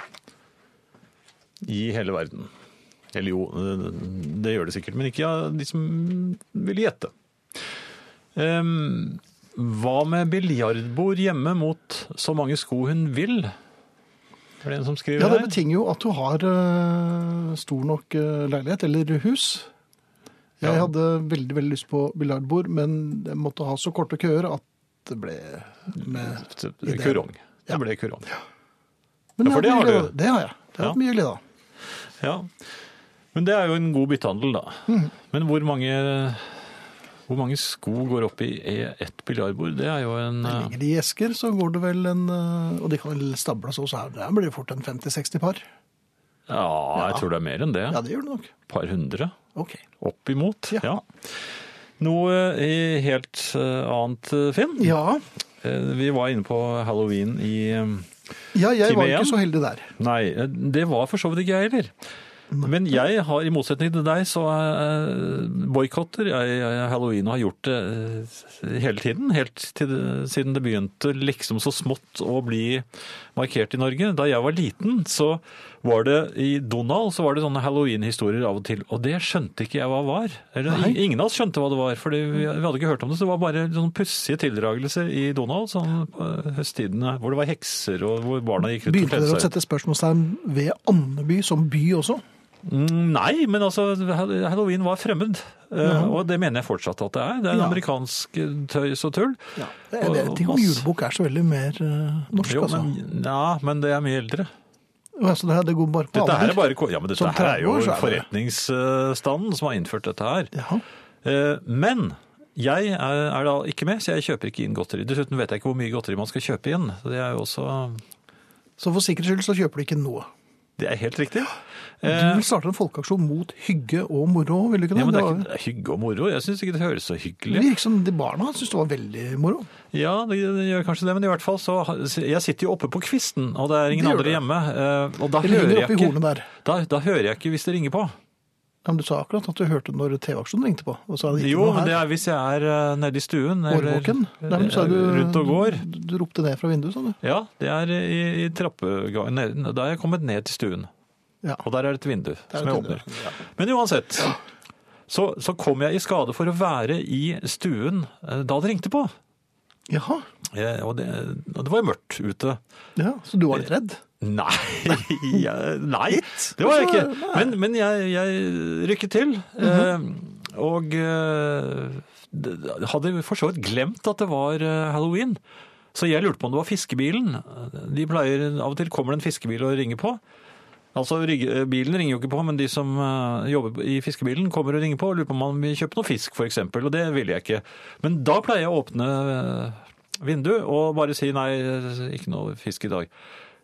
S2: I hele verden. Eller jo, eh, det gjør det sikkert, men ikke av de som vil gjette. Em, hva med biljardbord hjemme mot så mange sko hun vil? Er det en som skriver
S1: Ja, det
S2: her?
S1: betinger jo at du har eh, stor nok eh, leilighet eller hus. Jeg
S2: Ja.
S1: hadde veldig veldig lyst på biljardbord, men jeg måtte ha så korte køer at det ble med
S2: Det- Kurong. Det ble kurong.
S1: Men
S2: Ja, for det
S1: jeg
S2: har
S1: mye
S2: du.
S1: glede- Det har jeg. Det har jeg
S2: Ja.
S1: hatt mye glede av.
S2: Ja. Men det er jo en god byttehandel, da.
S1: Mm.
S2: Men hvor mange, hvor mange sko går opp i e- ett biljardbord? Det er jo en
S1: Det
S2: eh,
S1: Ligger de i esker, så går det vel en eh, Og de kan vel stables også her. Det blir fort en 50-60 par.
S2: eh, Ja, jeg tror det er mer enn det.
S1: Ja, det gjør det nok.
S2: Par hundre.
S1: OK.
S2: Opp imot.
S1: Ja.
S2: Ja. Noe eh, helt eh, annet, eh, Finn.
S1: Ja,
S2: Eh, Vi var inne på halloween i eh,
S1: ja jeg
S2: Time
S1: var
S2: igjen.
S1: ikke så heldig der.
S2: Nei, det var for så vidt ikke jeg heller. Men jeg har, i motsetning til deg, så eh, boikotter jeg eh, halloween og har gjort det eh, hele tiden. Helt til, det- siden det begynte liksom så smått å bli markert i Norge. Da jeg var liten, så var det i Donald så var det sånne halloween-historier av og til. Og det skjønte ikke jeg hva var. Eller,
S1: Nei.
S2: ingen av oss skjønte hva det var, for vi, vi hadde ikke hørt om det. Så det var bare sånne pussige tildragelser i Donald, sånn eh, høsttidene hvor det var hekser og hvor barna gikk ut og
S1: Begynte
S2: kledde
S1: dere
S2: seg
S1: å
S2: ut.
S1: sette spørsmålstegn ved Andeby som by også?
S2: Mm, Nei, men altså, hall- halloween var fremmed. Eh,
S1: Ja.
S2: Og det mener jeg fortsatt at det er. Det er
S1: Ja.
S2: amerikansk eh, tøys og tull.
S1: Ja. Jeg vet ikke om
S2: Masse-
S1: julebukk er så veldig mer eh, norsk,
S2: Jo,
S1: altså.
S2: men, ja, men det er mye eldre.
S1: Å, ja, så det, her, det går bare på
S2: Dette
S1: alder?
S2: her er bare ko- Ja, men dette
S1: Som
S2: her er jo
S1: 30 år så er det-
S2: forretningsstanden som har innført dette her.
S1: Ja.
S2: Eh, Men jeg er er da ikke med, så jeg kjøper ikke inn godteri. Dessuten vet jeg ikke hvor mye godteri man skal kjøpe inn. Så Det er jo også
S1: Så for sikkerhets skyld så kjøper du ikke noe.
S2: Det er helt riktig.
S1: Du
S2: Eh,
S1: vil starte en folkeaksjon mot hygge og moro, vil du ikke det?
S2: Ja, men det er
S1: var-
S2: ikke det er hygge og moro. Jeg syns ikke det høres så hyggelig
S1: det virker som de barna syntes det var veldig moro.
S2: Ja, det det gjør kanskje det, men i hvert fall så Jeg sitter jo oppe på kvisten, og det er ingen
S1: Det gjør
S2: andre
S1: du.
S2: hjemme. eh, Og da
S1: Eller
S2: hører,
S1: henger
S2: jeg
S1: oppi
S2: ikke,
S1: hornet der.
S2: da, da hører jeg ikke hvis det ringer på.
S1: Ja, men du sa akkurat at du hørte når TV-aksjonen ringte på. Og så er det ikke
S2: Jo,
S1: noe
S2: men det
S1: her.
S2: er hvis jeg er eh, nede i stuen eller
S1: Årvåken. Nei, men så er du,
S2: rundt og går.
S1: Du, du ropte ned fra vinduet, sa du.
S2: Ja, det er i, i trappegangen. ned- Da er jeg kommet ned til stuen,
S1: Ja.
S2: og der er et vindu
S1: Der
S2: som jeg
S1: er det-
S2: åpner. Men uansett, så, så kom jeg i skade for å være i stuen eh, da det ringte på.
S1: Jaha.
S2: Eh, Og det, og det var jo mørkt ute.
S1: Ja, så du var litt redd?
S2: Nei, jeg, nei
S1: Litt,
S2: det var jeg
S1: kanskje,
S2: ikke. Men, men jeg, jeg rykket til. eh, Og eh, d- hadde for så vidt glemt at det var eh, halloween. Så jeg lurte på om det var fiskebilen. De pleier, Av og til kommer det en fiskebil og ringer på. Altså, rygge- Bilen ringer jo ikke på, men de som eh, jobber i fiskebilen kommer og ringer på og lurer på om man vil kjøpe noe fisk, f.eks. Og det ville jeg ikke. Men da pleier jeg å åpne eh, vinduet og bare si nei, ikke noe fisk i dag.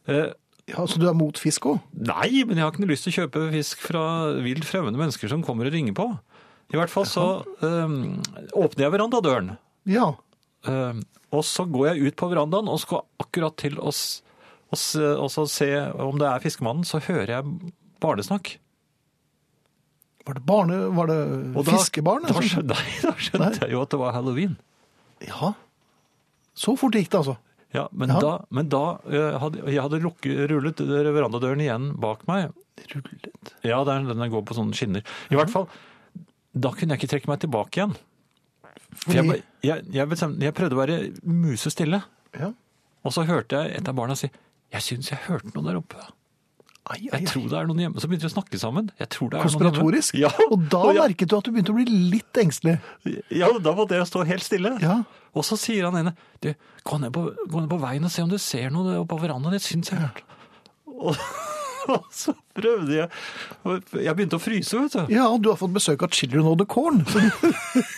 S2: Eh,
S1: Ja, Så du er mot fisk òg?
S2: Nei, men jeg har ikke noe lyst til å kjøpe fisk fra vilt fremmede mennesker som kommer og ringer på. I hvert fall så øhm, åpner jeg verandadøren,
S1: Ja.
S2: øhm, og så går jeg ut på verandaen og skal akkurat til å s- å s- og så se om det er fiskemannen, så hører jeg barnesnakk.
S1: Var det, barne, var det
S2: Og da-
S1: fiskebarn?
S2: Da,
S1: altså?
S2: skjøn- nei, da skjønte
S1: Nei.
S2: jeg jo at det var halloween.
S1: Ja. Så fort gikk det, altså.
S2: Ja, men
S1: Ja.
S2: da, men da øh, hadde jeg hadde lukket, rullet verandadøren igjen bak meg,
S1: Rullet.
S2: Ja, det er den den går på sånne skinner. I hvert fall, da kunne jeg ikke trekke meg tilbake igjen. For jeg,
S1: Fordi-
S2: ble- jeg, jeg, bestemte, jeg prøvde å være musestille,
S1: Ja.
S2: og så hørte jeg et av barna si Jeg syns jeg hørte noe der oppe.
S1: Ai, ai,
S2: Jeg
S1: ai.
S2: tror det er noen hjemme. Så begynte vi å snakke sammen. Jeg tror det er
S1: Konspiratorisk.
S2: Noen hjemme. Ja,
S1: Og da
S2: jeg-
S1: merket du at du begynte å bli litt engstelig.
S2: ja, da måtte jeg stå helt stille.
S1: Ja.
S2: Og så sier han ene Du, gå ned på, gå ned på veien og se om du ser noe oppe på verandaen. Jeg syns jeg hørte og, og så prøvde jeg Jeg begynte å fryse, vet du.
S1: Ja, og du har fått besøk av Children of the Corn. Så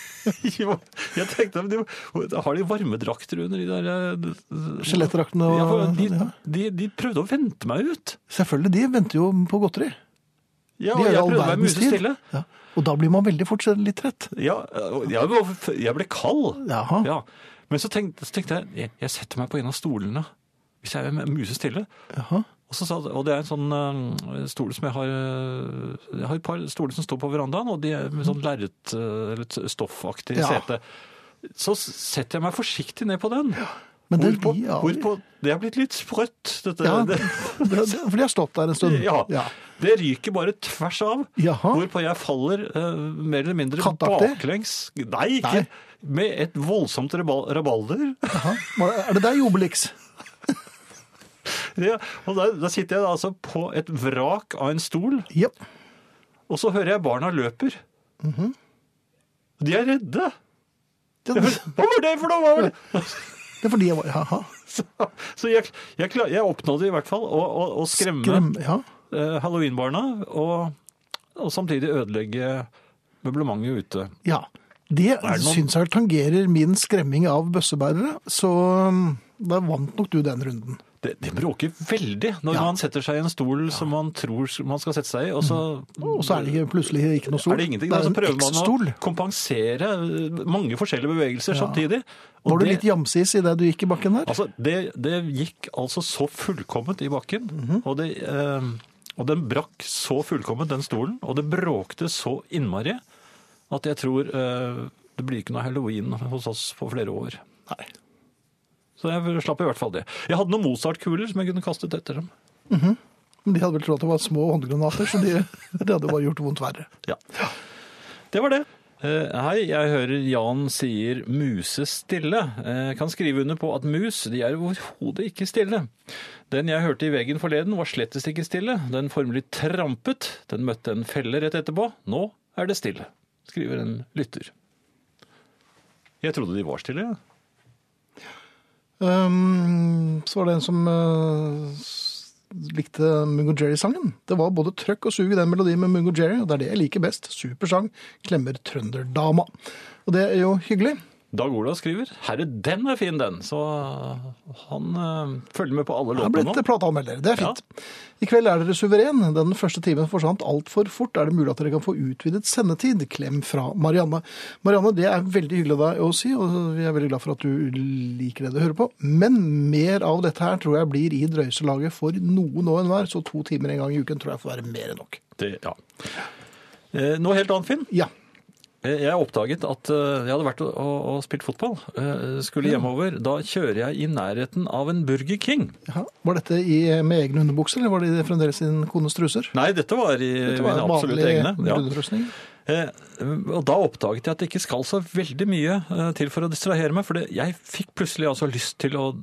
S2: Jo, jeg tenkte, men de, Har de varmedrakter under de der eh,
S1: Skjelettdraktene og
S2: ja, for de,
S1: ja.
S2: de, de prøvde å vente meg ut.
S1: Selvfølgelig, de venter jo på godteri.
S2: Ja,
S1: De gjør
S2: og jeg
S1: all
S2: prøvde å være
S1: verdens tid.
S2: musestille.
S1: Ja. Og da blir man veldig fort litt trett.
S2: Ja, og jeg, var- jeg ble kald.
S1: Jaha.
S2: Ja. Men så tenkte, så tenkte jeg, jeg jeg setter meg på en av stolene hvis jeg er musestille.
S1: Jaha.
S2: Og, så sa, og det er en sånn eh, stol som jeg har eh, Jeg har et par stoler som står på verandaen, og de er med sånn lerret, eh, eller et stoffaktig
S1: Ja.
S2: sete. Så setter jeg meg forsiktig ned på den.
S1: Men det,
S2: hvorpå,
S1: ja,
S2: hvorpå Det er blitt litt sprøtt, dette.
S1: Ja.
S2: Det,
S1: det, det, for de har stått der en stund.
S2: ja, det ryker bare tvers av.
S1: Mm. Jaha.
S2: Hvorpå jeg faller eh, mer eller mindre
S1: Kattaktig?
S2: baklengs. Nei, ikke.
S1: Nei.
S2: Med et voldsomt rabal- rabalder.
S1: Jaha. Var det- Er det deg, Obelix?
S2: Ja, og da, da sitter jeg da altså på et vrak av en stol,
S1: Ja.
S2: og så hører jeg barna løper.
S1: Mhm.
S2: Og De er redde.
S1: Det,
S2: Jeg
S1: det
S2: hører, Hva var det for noe? Hva var det?
S1: er fordi jeg var Jaha.
S2: Så, så jeg, jeg, klar, jeg oppnådde i hvert fall å, å, å skremme
S1: Skrem- Ja.
S2: eh, halloweenbarna og, og samtidig ødelegge møblementet ute.
S1: ja. Det
S2: noen-
S1: syns jeg tangerer min skremming av bøssebærere, så um, da vant nok du den runden.
S2: Det, det bråker veldig når
S1: Ja. Mm.
S2: man setter seg i en stol som man tror man skal sette seg i, og så
S1: Og så er det ikke- plutselig ikke noe sol.
S2: er det ingenting.
S1: Det
S2: Da,
S1: er
S2: så
S1: en
S2: prøver man
S1: X-stol.
S2: å kompensere eh, mange forskjellige bevegelser
S1: Ja.
S2: samtidig. Og
S1: Var du
S2: det-
S1: litt jamsis idet du gikk i bakken der?
S2: Altså, det, det gikk altså så fullkomment i bakken,
S1: Mhm.
S2: og, det, eh, og den brakk så fullkomment, den stolen, og det bråkte så innmari at jeg tror eh, det blir ikke noe halloween hos oss på flere år.
S1: Nei.
S2: Så jeg slapp i hvert fall det. Jeg hadde noen Mozart-kuler som jeg kunne kastet etter dem.
S1: Men de hadde vel trodd at det var små håndgranater, så de, det hadde bare gjort vondt verre.
S2: Ja. Det var det. Eh, hei, jeg hører Jan sier 'muse stille'. Eh, kan skrive under på at mus de er overhodet ikke stille. Den jeg hørte i veggen forleden var slettest ikke stille. Den formelig trampet. Den møtte en felle rett etterpå. Nå er det stille, skriver en lytter. Jeg trodde de var stille. ja.
S1: Ehm, så var det en som eh, s- likte Mungo Jerry-sangen. Det var både trøkk og sug i den melodien med Mungo Jerry, og det er det jeg liker best. Supersang, klemmer trønderdama. Og det er jo hyggelig.
S2: Dag Olav skriver 'Herre, den er fin, den'. Så han eh, følger med på alle
S1: Jeg er
S2: låtene
S1: blitt
S2: nå.
S1: plateanmelder. Det er fint. I kveld er dere suveren. Den første timen forsvant altfor fort. Er det mulig at dere kan få utvidet sendetid? Klem fra Marianne. Marianne, det er veldig hyggelig av deg å si, og vi er veldig glad for at du liker det du hører på. Men mer av dette her tror jeg blir i drøyselaget for noen og enhver, så to timer en gang i uken tror jeg får være mer enn nok.
S2: Det, ja. Eh, Noe helt annet, Finn.
S1: Ja.
S2: Jeg oppdaget at eh, jeg hadde vært og, og, og spilt fotball. eh, Skulle hjemover. Da kjører jeg i nærheten av en Burger King.
S1: Jaha. Var dette i, med egne underbukser, eller var det fremdeles din kones truser?
S2: Nei, dette var i
S1: Dette var
S2: Eh, mine absolutt
S1: vanlig
S2: egne. Ja.
S1: brudrustning.
S2: Eh, Og da oppdaget jeg at det ikke skal så veldig mye eh, til for å distrahere meg. For det, jeg fikk plutselig altså lyst til å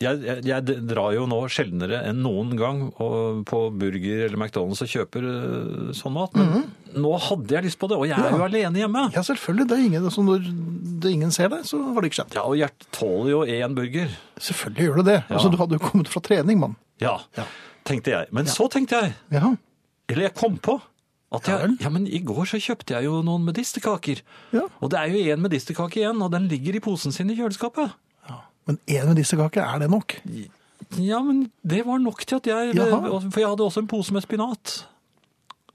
S2: jeg, jeg, jeg drar jo nå sjeldnere enn noen gang og på burger eller McDonald's og kjøper eh, sånn mat. Men nå hadde jeg lyst på det, og jeg er jo alene hjemme.
S1: Mhm. Ja, selvfølgelig. Det er ingen, så når det ingen ser deg, så har det ikke skjedd.
S2: Ja, og hjertet tåler jo én burger.
S1: Selvfølgelig gjør det det. Altså, du hadde jo kommet fra trening, mann.
S2: Ja,
S1: Ja.
S2: tenkte jeg. Men så tenkte jeg,
S1: Ja,
S2: eller jeg kom på, at
S1: Ja
S2: jeg,
S1: vel.
S2: ja, men i går så kjøpte jeg jo noen medisterkaker.
S1: Ja.
S2: Og det er jo en medisterkake igjen, og den ligger i posen sin i kjøleskapet.
S1: men én med disse kaker, er det nok?
S2: Ja, men det var nok til at jeg,
S1: Jaha.
S2: for jeg hadde også en pose med spinat.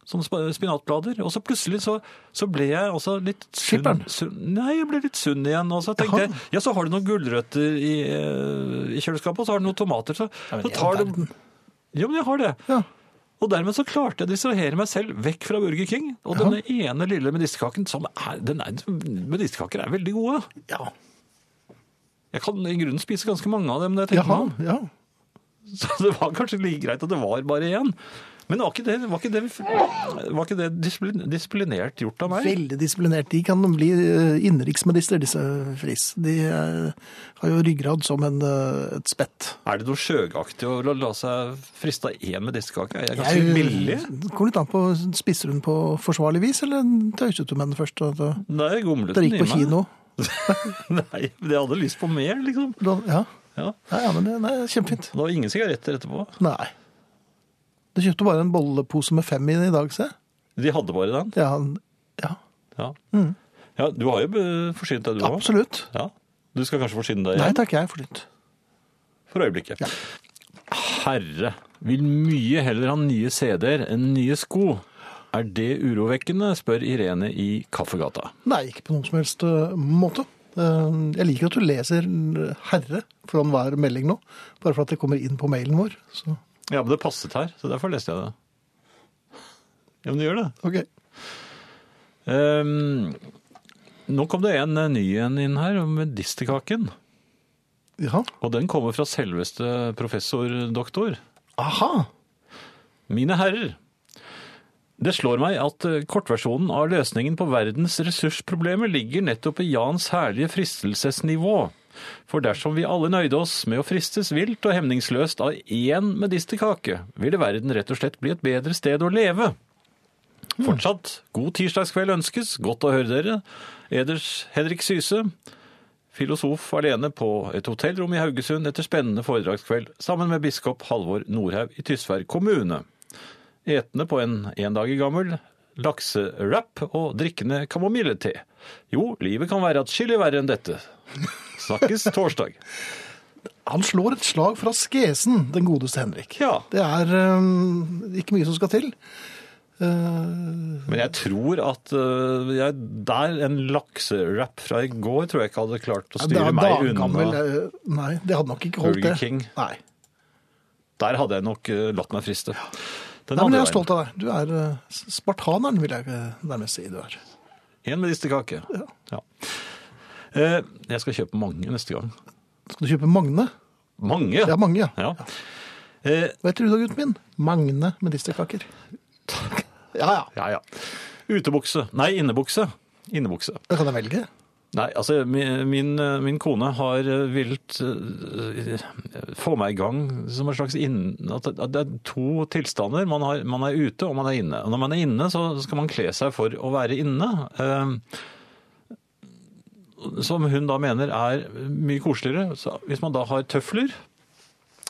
S2: Som sp- spinatblader. Og så plutselig så, så ble jeg også litt sunn.
S1: Skipperen?
S2: sunn nei, jeg ble litt sunn igjen. Og så tenkte
S1: Jaha.
S2: jeg, ja, så har du noen gulrøtter i, eh, i kjøleskapet, og så har du noen tomater. Så, så tar du... Ja, men jeg har det.
S1: Ja.
S2: Og dermed så klarte jeg å distrahere meg selv vekk fra Burger King. Og
S1: Ja.
S2: denne ene lille medisterkaken som er, den er, Medisterkaker er veldig gode.
S1: ja.
S2: Jeg kan i grunnen spise ganske mange av dem. når jeg tenker
S1: Jaha,
S2: meg om.
S1: ja.
S2: Så det var kanskje like greit at det var bare én. Men var ikke det, var ikke det, var ikke det disiplin, disiplinert gjort av meg?
S1: Veldig disiplinert. De kan bli eh, innenriksminister, disse Friis. De eh, har jo ryggrad som en, eh, et spett.
S2: Er det noe sjøgaktig å la, la seg friste av én medisterkake? Er jeg ganske billig?
S1: Det kommer Altså, litt an på spiser hun på forsvarlig vis, eller tøyset du med den først? at, eh,
S2: Nei, gomlet
S1: Dere
S2: den i
S1: gikk på
S2: meg.
S1: kino?
S2: Nei, men jeg hadde lyst på mer, liksom.
S1: Da, ja.
S2: Ja.
S1: Ja, ja, men det nei, kjempefint.
S2: Det var ingen sigaretter etterpå.
S1: Nei. Du kjøpte bare en bollepose med fem i den i dag, se.
S2: De hadde bare den.
S1: Ja, ja.
S2: Ja. ja du har jo be- forsynt deg, du òg.
S1: absolutt.
S2: Ja. Du skal kanskje forsyne deg
S1: Nei
S2: igjen
S1: takk, jeg er forsynt.
S2: for øyeblikket. Herre, vil mye heller ha nye CD-er enn nye sko. Er det urovekkende, spør Irene i Kaffegata.
S1: Nei, ikke på noen som helst øh, måte. Eh, Jeg liker at du leser øh, 'herre' foran hver melding nå, bare for at det kommer inn på mailen vår. Så,
S2: Ja, men det passet her, så derfor leste jeg det. Ja, men det gjør det.
S1: ok.
S2: Ehm, nå kom det en eh, ny en inn her, om medisterkaken.
S1: Ja.
S2: Og den kommer fra selveste professor doktor.
S1: Aha!
S2: Mine herrer, det slår meg at eh, kortversjonen av løsningen på verdens ressursproblemer ligger nettopp i Jans herlige fristelsesnivå. For dersom vi alle nøyde oss med å fristes vilt og hemningsløst av én medisterkake, ville verden rett og slett bli et bedre sted å leve. Fortsatt god tirsdagskveld ønskes. Godt å høre dere. Eders Henrik Syse, filosof alene på et hotellrom i Haugesund etter spennende foredragskveld sammen med biskop Halvor Nordhaug i Tysvær kommune. Etende på en en dag gammel laksewrap og drikkende kamomillete. Jo, livet kan være atskillig verre enn dette. Snakkes torsdag.
S1: Han slår et slag fra skesen, den godeste Henrik.
S2: Ja.
S1: Det er eh, ikke mye som skal til. Eh,
S2: Men jeg tror at øh, jeg, der en laksewrap fra i går tror jeg ikke hadde klart å
S1: det
S2: styre
S1: er
S2: meg
S1: daggammel,
S2: unna.
S1: eh, Nei, det hadde nok ikke holdt
S2: Burger
S1: det.
S2: King.
S1: Nei.
S2: Der hadde jeg nok øh, latt meg friste. Den
S1: Nei, men jeg er
S2: andre veien.
S1: stolt av deg. Du er eh, spartaneren, vil jeg eh, nærmest si du er.
S2: En medisterkake.
S1: Ja.
S2: Ja. Eh, Jeg skal kjøpe mange neste gang.
S1: Skal du kjøpe Magne?
S2: Mange?
S1: Ja, mange, ja.
S2: Ja. Eh,
S1: Hva heter du da, gutten min? Magne medisterkaker. Ja, ja.
S2: ja, ja. Utebukse. Nei, innebukse. Innebukse.
S1: Det kan jeg velge.
S2: Nei, altså mi- min, eh, min kone har eh, vilt eh, få meg i gang som en slags inn... At det- at det er to tilstander. Man, har, man er ute og man er inne. Og når man er inne, så skal man kle seg for å være inne. Eh, Som hun da mener er mye koseligere. Så hvis man da har tøfler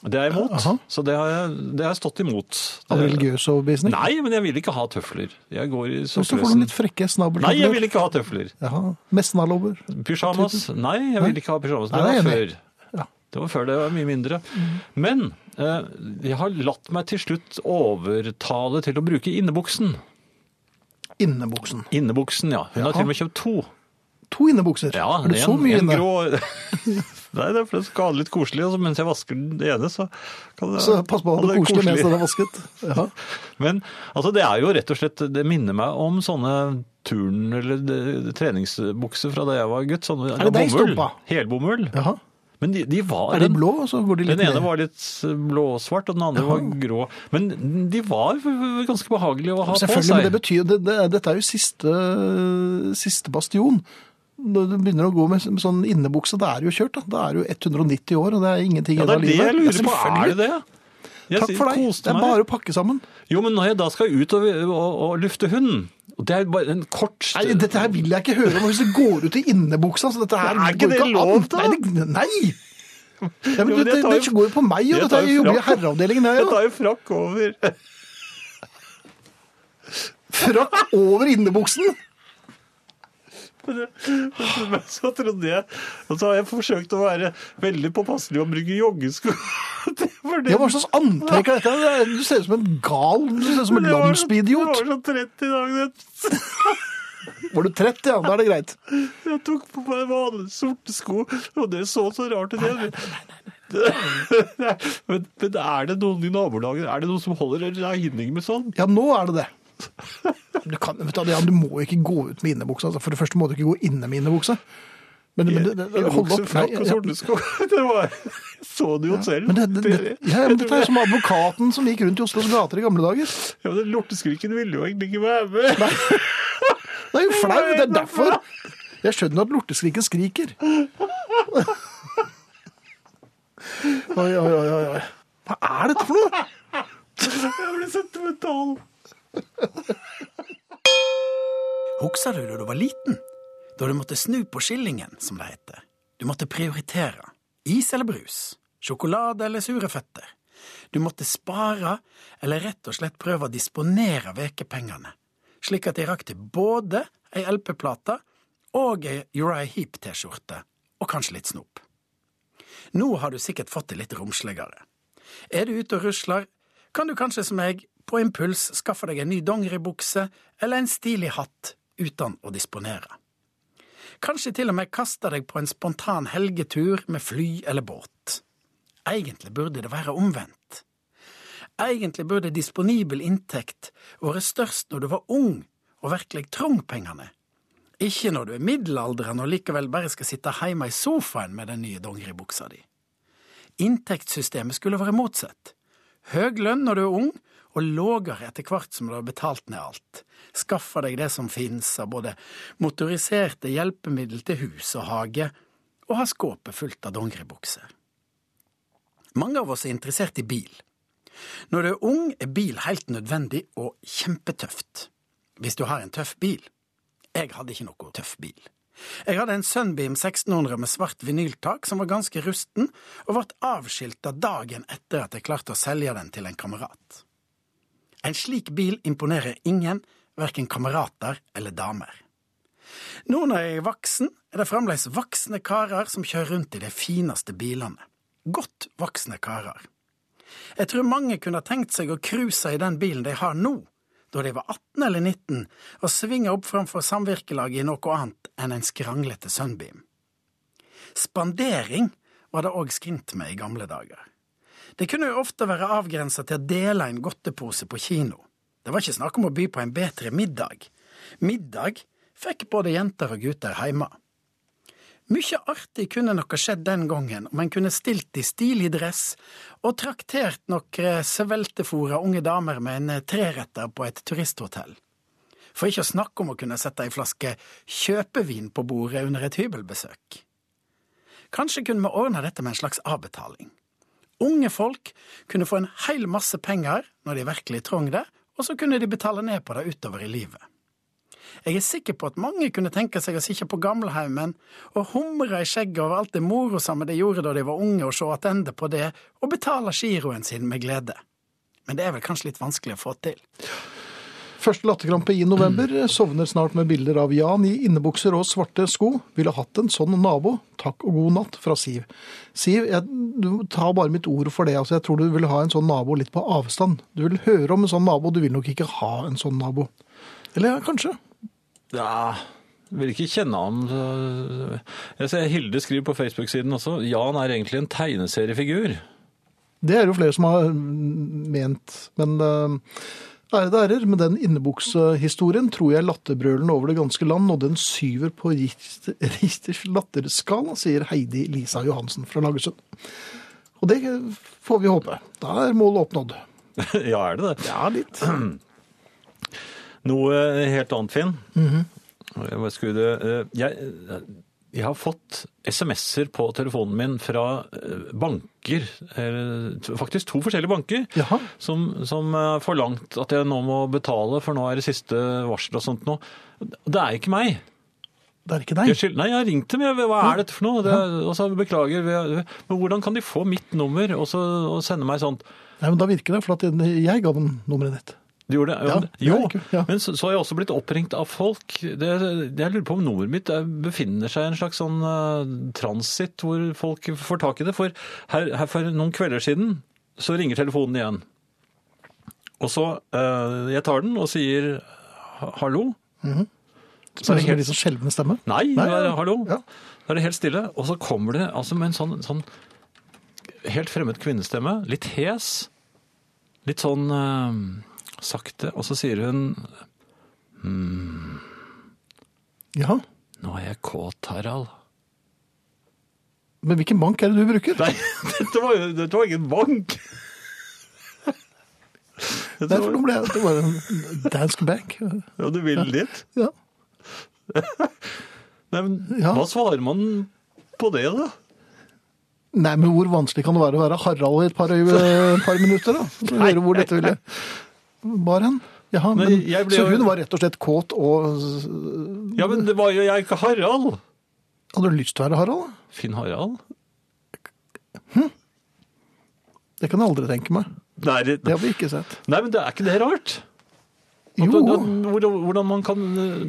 S2: Det er jeg imot.
S1: Aha.
S2: Så det har jeg, det har jeg stått imot.
S1: Av
S2: Det-
S1: religiøs overbevisning.
S2: Eh, Nei, men jeg vil ikke ha tøfler. Jeg går i
S1: Hvis du får noen
S2: sokkeløsen.
S1: litt frekke snabeltøfler.
S2: Nei, jeg vil ikke ha tøfler.
S1: Jaha. Mesnalover.
S2: Pysjamas? Nei, jeg vil ikke ha pysjamas. Det
S1: Nei, det er
S2: var
S1: jeg
S2: før.
S1: Ja.
S2: Det var før det var mye mindre. Men eh, jeg har latt meg til slutt overtale til å bruke innebuksen.
S1: Innebuksen.
S2: Innebuksen, ja.
S1: Ja.
S2: Hun har til og med kjøpt to.
S1: To innebukser.
S2: Ja,
S1: er det så
S2: en-
S1: mye
S2: en
S1: inne?
S2: grå... Nei, det er for det skal ha det litt koselig. Altså, mens jeg vasker den ene, så kan det
S1: Så pass på at
S2: ha
S1: det er koselig mens den er vasket. Ja.
S2: Men altså, det er jo rett og slett Det minner meg om sånne turn- eller de- treningsbukser fra da jeg var gutt. Sånne,
S1: det deg,
S2: bomull.
S1: Stumpa?
S2: Helbomull.
S1: Jaha.
S2: Men de, de var
S1: Er de blå, så går de litt
S2: Den ene
S1: ned?
S2: var litt blåsvart, og den andre var grå. Men de var ganske behagelige å ha på
S1: Selvfølgelig, men det
S2: seg.
S1: betyr det, det, Dette er jo siste, siste bastion. Når du begynner å gå med sånn innebukse, da er det jo kjørt. Da, da er det jo 190 år, og det er ingenting
S2: Ja,
S1: igjen av
S2: det er det
S1: livet.
S2: jeg lurer på.
S1: selvfølgelig.
S2: Er det det? Jeg
S1: Takk
S2: sier,
S1: for deg.
S2: koste
S1: Det er
S2: meg.
S1: bare å pakke sammen.
S2: Jo, men når jeg da skal ut og, og, og lufte hunden og Det er bare en kort
S1: Nei, dette her vil jeg ikke høre om hvis det går ut i innebuksa. Så dette her
S2: Men er ikke
S1: går
S2: det
S1: an.
S2: lov, da?
S1: Nei! det- nei. Ja, men
S2: Jo, men
S1: det,
S2: jeg tar
S1: det,
S2: jo-
S1: går jo på meg, og
S2: jeg
S1: dette
S2: tar
S1: er
S2: jo
S1: jo jobber i
S2: frakk.
S1: herreavdelingen her,
S2: Jeg
S1: jo.
S2: tar jo frakk over.
S1: Frakk over innebuksen!
S2: Men men så trodde jeg Og så har jeg forsøkt å være veldig påpasselig og bruke joggesko. Det var det-
S1: Ja, hva slags antrekk er dette? Det er- Du ser ut som en gal, du ser ut som en
S2: Det var så-
S1: landsbyidiot.
S2: Det var så trett i dag. det.
S1: Var du 30, ja, da er det greit.
S2: Jeg tok på meg vanlige sorte sko, og det så så rart ut. igjen. Men, men er det noen i nabolaget Er det noen som holder regning med sånn?
S1: Ja, nå er det det. Du, kan, vet du, hva, Jan, du må ikke gå ut med innebuksa. Altså, for det første må du ikke gå inne med innebuksa. Men, men, det- det- det- hold opp. Nei,
S2: Innebukser, frakk og
S1: ja,
S2: sorte sko. Det var, jeg så det jo selv.
S1: men det, det, det, ja, men dette er jo som advokaten som gikk rundt i Oslos gater i gamle dager.
S2: Ja, men den Lorteskriken ville jo egentlig ikke være med.
S1: Det er jo flaut, det er derfor. Jeg skjønner at lorteskriken skriker. Oi, oi, oi, oi, oi. Hva er dette for noe?
S2: Jeg ble sentimental.
S3: Husker du da du var liten? Da du måtte snu på skillingen, som det heter. Du måtte prioritere. Is eller brus? Sjokolade eller sure føtter? Du måtte spare, eller rett og slett prøve å disponere vekepengene, slik at de rakk til både ei LP-plate og ei Uriah Heap-T-skjorte, og kanskje litt snop. Nå har du sikkert fått det litt romsligere. Er du ute og rusler, kan du kanskje som meg, på impuls skaffe deg en ny dongeribukse eller en stilig hatt uten å disponere. Kanskje til og med kaste deg på en spontan helgetur med fly eller båt. Egentlig burde det være omvendt. Egentlig burde disponibel inntekt vært størst når du var ung og virkelig trong pengene, ikke når du er middelaldrende og likevel bare skal sitte hjemme i sofaen med den nye dongeribuksa di. Inntektssystemet skulle være motsatt. Høg lønn når du er ung, og lågere etter hvert som du har betalt ned alt. Skaffa deg det som finnes av både motoriserte hjelpemiddel til hus og hage, og har skåpet fullt av dongeribukser. Mange av oss er interessert i bil. Når du er ung, er bil helt nødvendig og kjempetøft. Hvis du har en tøff bil. Jeg hadde ikke noe tøff bil. Jeg hadde en Sunbeam 1600 med svart vinyltak som var ganske rusten, og ble avskilta dagen etter at jeg klarte å selge den til en kamerat. En slik bil imponerer ingen, verken kamerater eller damer. Nå når jeg er voksen, er det fremdeles voksne karer som kjører rundt i de fineste bilene. Godt voksne karer. Jeg tror mange kunne ha tenkt seg å cruise i den bilen de har nå, da de var 18 eller 19, og svinge opp framfor samvirkelaget i noe annet enn en skranglete Sunbeam. Spandering var det òg skrint med i gamle dager. Det kunne jo ofte være avgrensa til å dele en godtepose på kino. Det var ikke snakk om å by på en bedre middag. Middag fikk både jenter og gutter hjemme. Mykje artig kunne nok ha skjedd den gangen om en kunne stilt i stilig dress og traktert nokre sveltefòra unge damer med en treretter på et turisthotell. For ikke å snakke om å kunne sette ei flaske kjøpevin på bordet under et hybelbesøk. Kanskje kunne vi ordne dette med en slags avbetaling. Unge folk kunne få en heil masse penger når de virkelig trong det, og så kunne de betale ned på det utover i livet. Jeg er sikker på at mange kunne tenke seg å sitte på gamleheimen og humre i skjegget over alt det morosamme de gjorde da de var unge, og se tilbake på det, og betale giroen sin med glede. Men det er vel kanskje litt vanskelig å få til.
S1: Første latterkrampe i november. Sovner snart med bilder av Jan i innebukser og svarte sko. Ville hatt en sånn nabo. Takk og god natt fra Siv. Siv, jeg, du tar bare mitt ord for det. Altså, jeg tror du vil ha en sånn nabo litt på avstand. Du vil høre om en sånn nabo, du vil nok ikke ha en sånn nabo. Eller ja, kanskje.
S2: Ja, vil ikke kjenne ham. så- Jeg ser Hilde skriver på Facebook-siden også. Jan er egentlig en tegneseriefigur.
S1: Det er jo flere som har mm, ment. Men uh, ærede ærer, med den innebuksehistorien tror jeg latterbrølen over det ganske land nådde en syver på Richter- Richters latterskala, sier Heidi Lisa Johansen fra Lagersund. Og det får vi håpe. Da er målet oppnådd.
S2: ja, er det det?
S1: Ja, litt.
S2: Noe helt annet, Finn. Jeg bare skulle, eh, jeg, jeg har fått SMS-er på telefonen min fra eh, banker, eller t- faktisk to forskjellige banker,
S1: Jaha.
S2: som, som eh, har forlangt at jeg nå må betale, for nå er det siste varsel og sånt nå. Det er ikke meg.
S1: Det er ikke
S2: Jeg
S1: deg.
S2: skyld- Nei, jeg har ringt dem. Jeg, hva er dette for noe? Det, og så beklager. vi- Men hvordan kan de få mitt nummer og, så, og sende meg sånt?
S1: Nei, men da virker det, for at jeg ga dem nummeret ditt.
S2: Du gjorde det?
S1: Ja,
S2: men-
S1: det er
S2: jo,
S1: ikke- ja.
S2: men så, så har jeg også blitt oppringt av folk. Det, jeg lurer på om nummeret mitt er- befinner seg i en slags sånn eh, transit hvor folk får tak i det. For her, her for noen kvelder siden så ringer telefonen igjen. Og så eh, Jeg tar den og sier ha- hallo.
S1: Så er det helt liksom skjelvende stemme.
S2: Nei,
S1: Nei,
S2: det er,
S1: ja.
S2: hallo.
S1: Ja.
S2: Da er det helt stille. Og så kommer det altså, med en sånn, sånn helt fremmed kvinnestemme. Litt hes. Litt sånn eh, sakte. Og så sier hun
S1: Ja.
S2: Nå er jeg kåt, Harald.
S1: Men hvilken bank er det du bruker?
S2: Nei, dette var, jo- dette var ingen bank! Dette
S1: Nei, for nå
S2: var,
S1: ble jeg, det var en dansk bank.
S2: ja, du vil dit?
S1: Ja.
S2: Nei, men
S1: Ja.
S2: hva svarer man på det, da?
S1: Nei, men hvor vanskelig kan det være å være Harald i et par, øye- par minutter, da? Så høre hvor dette ville Bar hen? Jaha,
S2: Nei,
S1: men,
S2: jeg ble
S1: så
S2: jo-
S1: hun var rett og slett kåt og s-
S2: Ja, men det var jo jeg, ikke Harald!
S1: Hadde du lyst til å være Harald? da?
S2: Finn Harald?
S1: Det kan jeg aldri tenke meg.
S2: Nei, det,
S1: Det hadde jeg ikke sett.
S2: nei, men det er ikke det rart? At
S1: Jo,
S2: det- det- hvor- Hvordan man kan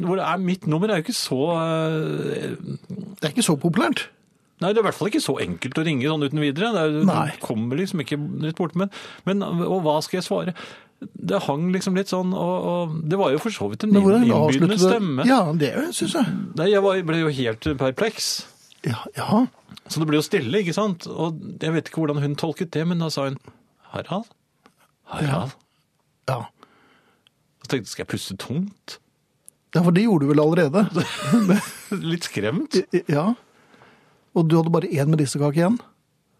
S2: hvor er Mitt nummer er jo ikke så eh,
S1: det er ikke så populært.
S2: Nei, det er i hvert fall ikke så enkelt å ringe sånn uten videre. Det er,
S1: Nei.
S2: Du kommer liksom ikke litt bort, men, men Og hva skal jeg svare? Det hang liksom litt sånn, og, og det var jo for så vidt en
S1: Men hvordan
S2: innbydende
S1: avsluttet
S2: stemme.
S1: du? Ja, det syns jeg.
S2: Nei, jeg var, ble jo helt perpleks.
S1: Ja, ja.
S2: Så det ble jo stille, ikke sant? Og jeg vet ikke hvordan hun tolket det, men da sa hun Harald? Harald?
S1: ja.
S2: Så tenkte jeg, skal jeg puste tungt?
S1: Ja, for det gjorde du vel allerede?
S2: Litt skremt?
S1: Ja. Og du hadde bare én medisterkake igjen?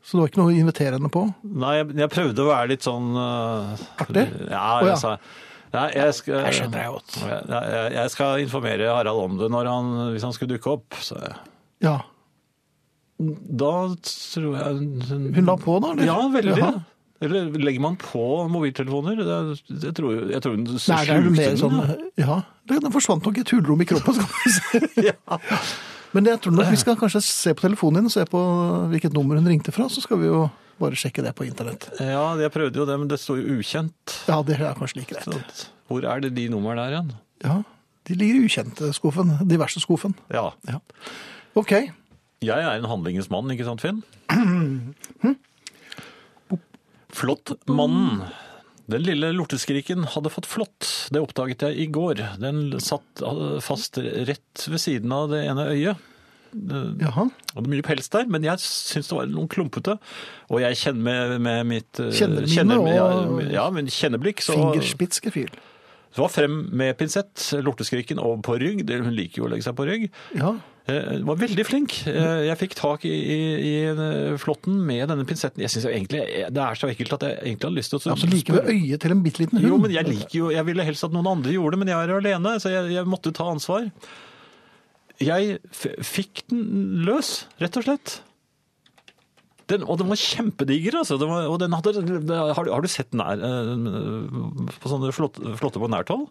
S1: Så det var ikke noe å invitere henne på?
S2: Nei, jeg, jeg prøvde å være litt sånn uh,
S1: Artig?
S2: Ja,
S1: Å, ja.
S2: jeg sa Nei, jeg skal,
S1: Jeg skjønner deg godt.
S2: Ja, Jeg, jeg skal informere Harald om det når han, hvis han skulle dukke opp. Så, jeg-
S1: Ja.
S2: Da tror jeg
S1: Hun la på da, eller?
S2: Ja, veldig.
S1: Jaha.
S2: Eller legger man på mobiltelefoner? Det er, jeg, tror, jeg tror hun
S1: Nei, det er jo
S2: slukte
S1: mer
S2: den,
S1: sånn
S2: da.
S1: Ja, det- den forsvant nok i et hulrom i kroppen. Skal vi si. Men jeg tror nok vi skal kanskje se på telefonen din og se på hvilket nummer hun ringte fra, så skal vi jo bare sjekke det på internett.
S2: Ja, jeg prøvde jo det, men det står jo ukjent.
S1: Ja, det er kanskje like
S2: Så
S1: greit.
S2: at- Hvor er det de numrene er igjen?
S1: Ja, De ligger i ukjente-skuffen. Diverse-skuffen.
S2: Ja.
S1: Ja. OK.
S2: Jeg er en handlingens mann, ikke sant, Finn? Flåttmannen. Den lille lorteskriken hadde fått flått. Det oppdaget jeg i går. Den satt eh, fast rett ved siden av det ene øyet.
S1: Jaha.
S2: Og det er mye pels der, men jeg syns det var noen klumpete. Og jeg kjenner med, med mitt eh,
S1: Kjenner mine
S2: med-
S1: og-
S2: ja, men kjenneblikk, så
S1: Fingerspitzgefühl.
S2: så var frem med pinsett, lorteskriken over på rygg. Det- Hun liker jo å legge seg på rygg.
S1: Ja.
S2: Eh, var veldig flink. Eh, Jeg fikk tak i, i, i eh, flåtten med denne pinsetten. Jeg synes jo egentlig eh, Det er så ekkelt at jeg egentlig hadde lyst til å
S1: Altså like ved øyet til en bitte liten hund.
S2: Jo, men jeg liker jo Jeg ville helst at noen andre gjorde det, men jeg er alene, så jeg, jeg måtte ta ansvar. Jeg f fikk den løs, rett og slett. Den, og den var kjempediger, altså. Den var, og den hadde, har, du- har du sett den her eh, på sånne flått- flåtter på nært hold?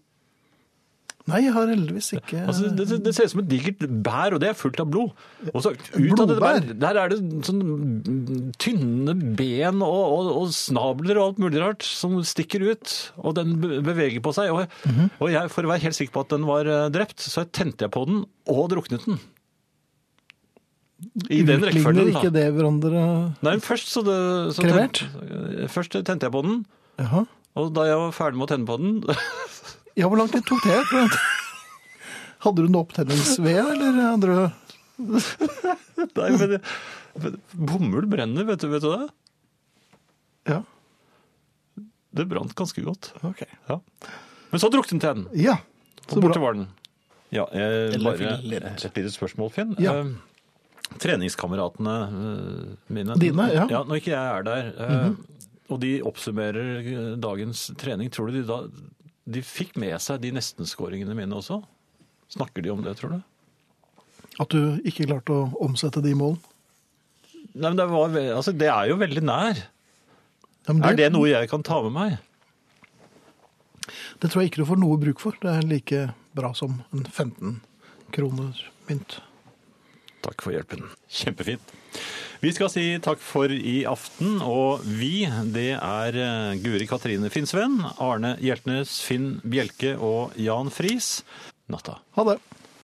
S1: Nei, jeg har heldigvis ikke
S2: Altså, det, det- det ser ut som et digert bær, og det er fullt av blod. Og så ut av dette
S1: Blodbær?
S2: bær, der er det sånn tynne ben og, og, og snabler og alt mulig rart som stikker ut, og den be- beveger på seg. Og, og jeg, for å være helt sikker på at den var eh, drept, så tente jeg på den og druknet den. I den
S1: Utligner
S2: rekkefølgen,
S1: ikke
S2: da.
S1: det hverandre
S2: Nei, først så, det, så
S1: Kremert?
S2: tente- først tente jeg på den,
S1: Jaha.
S2: og da jeg var ferdig med å tenne på den
S1: Ja, hvor lang tid tok det? For at- Hadde du noe opptenningsved, eller hadde du
S2: Nei, men, men bomull brenner, vet du, vet du det?
S1: Ja,
S2: Det brant ganske godt.
S1: OK.
S2: Ja. Men så druknet jeg den,
S1: Ja.
S2: og borte var den. Ja, jeg,
S3: Eller
S2: bare
S3: fillet.
S2: et lite spørsmål, Finn.
S1: Ja.
S2: Eh, treningskameratene eh, mine
S1: Dine, ja.
S2: Når ikke jeg er der, eh, og de oppsummerer eh, dagens trening, tror du de da de fikk med seg de nestenskåringene mine også? Snakker de om det, tror du?
S1: At du ikke klarte å omsette de målene.
S2: Nei, men det, var, ve- altså, det er jo veldig nær.
S1: Ja, men
S2: Er det noe jeg kan ta med meg?
S1: Det tror jeg ikke du får noe bruk for. Det er like bra som en 15 kroner mynt.
S2: Takk for hjelpen. Kjempefint. Vi skal si takk for i aften, og vi, det er eh, Guri Katrine Finnsven, Arne Hjeltnes, Finn Bjelke og Jan Friis. Natta.
S1: Ha det.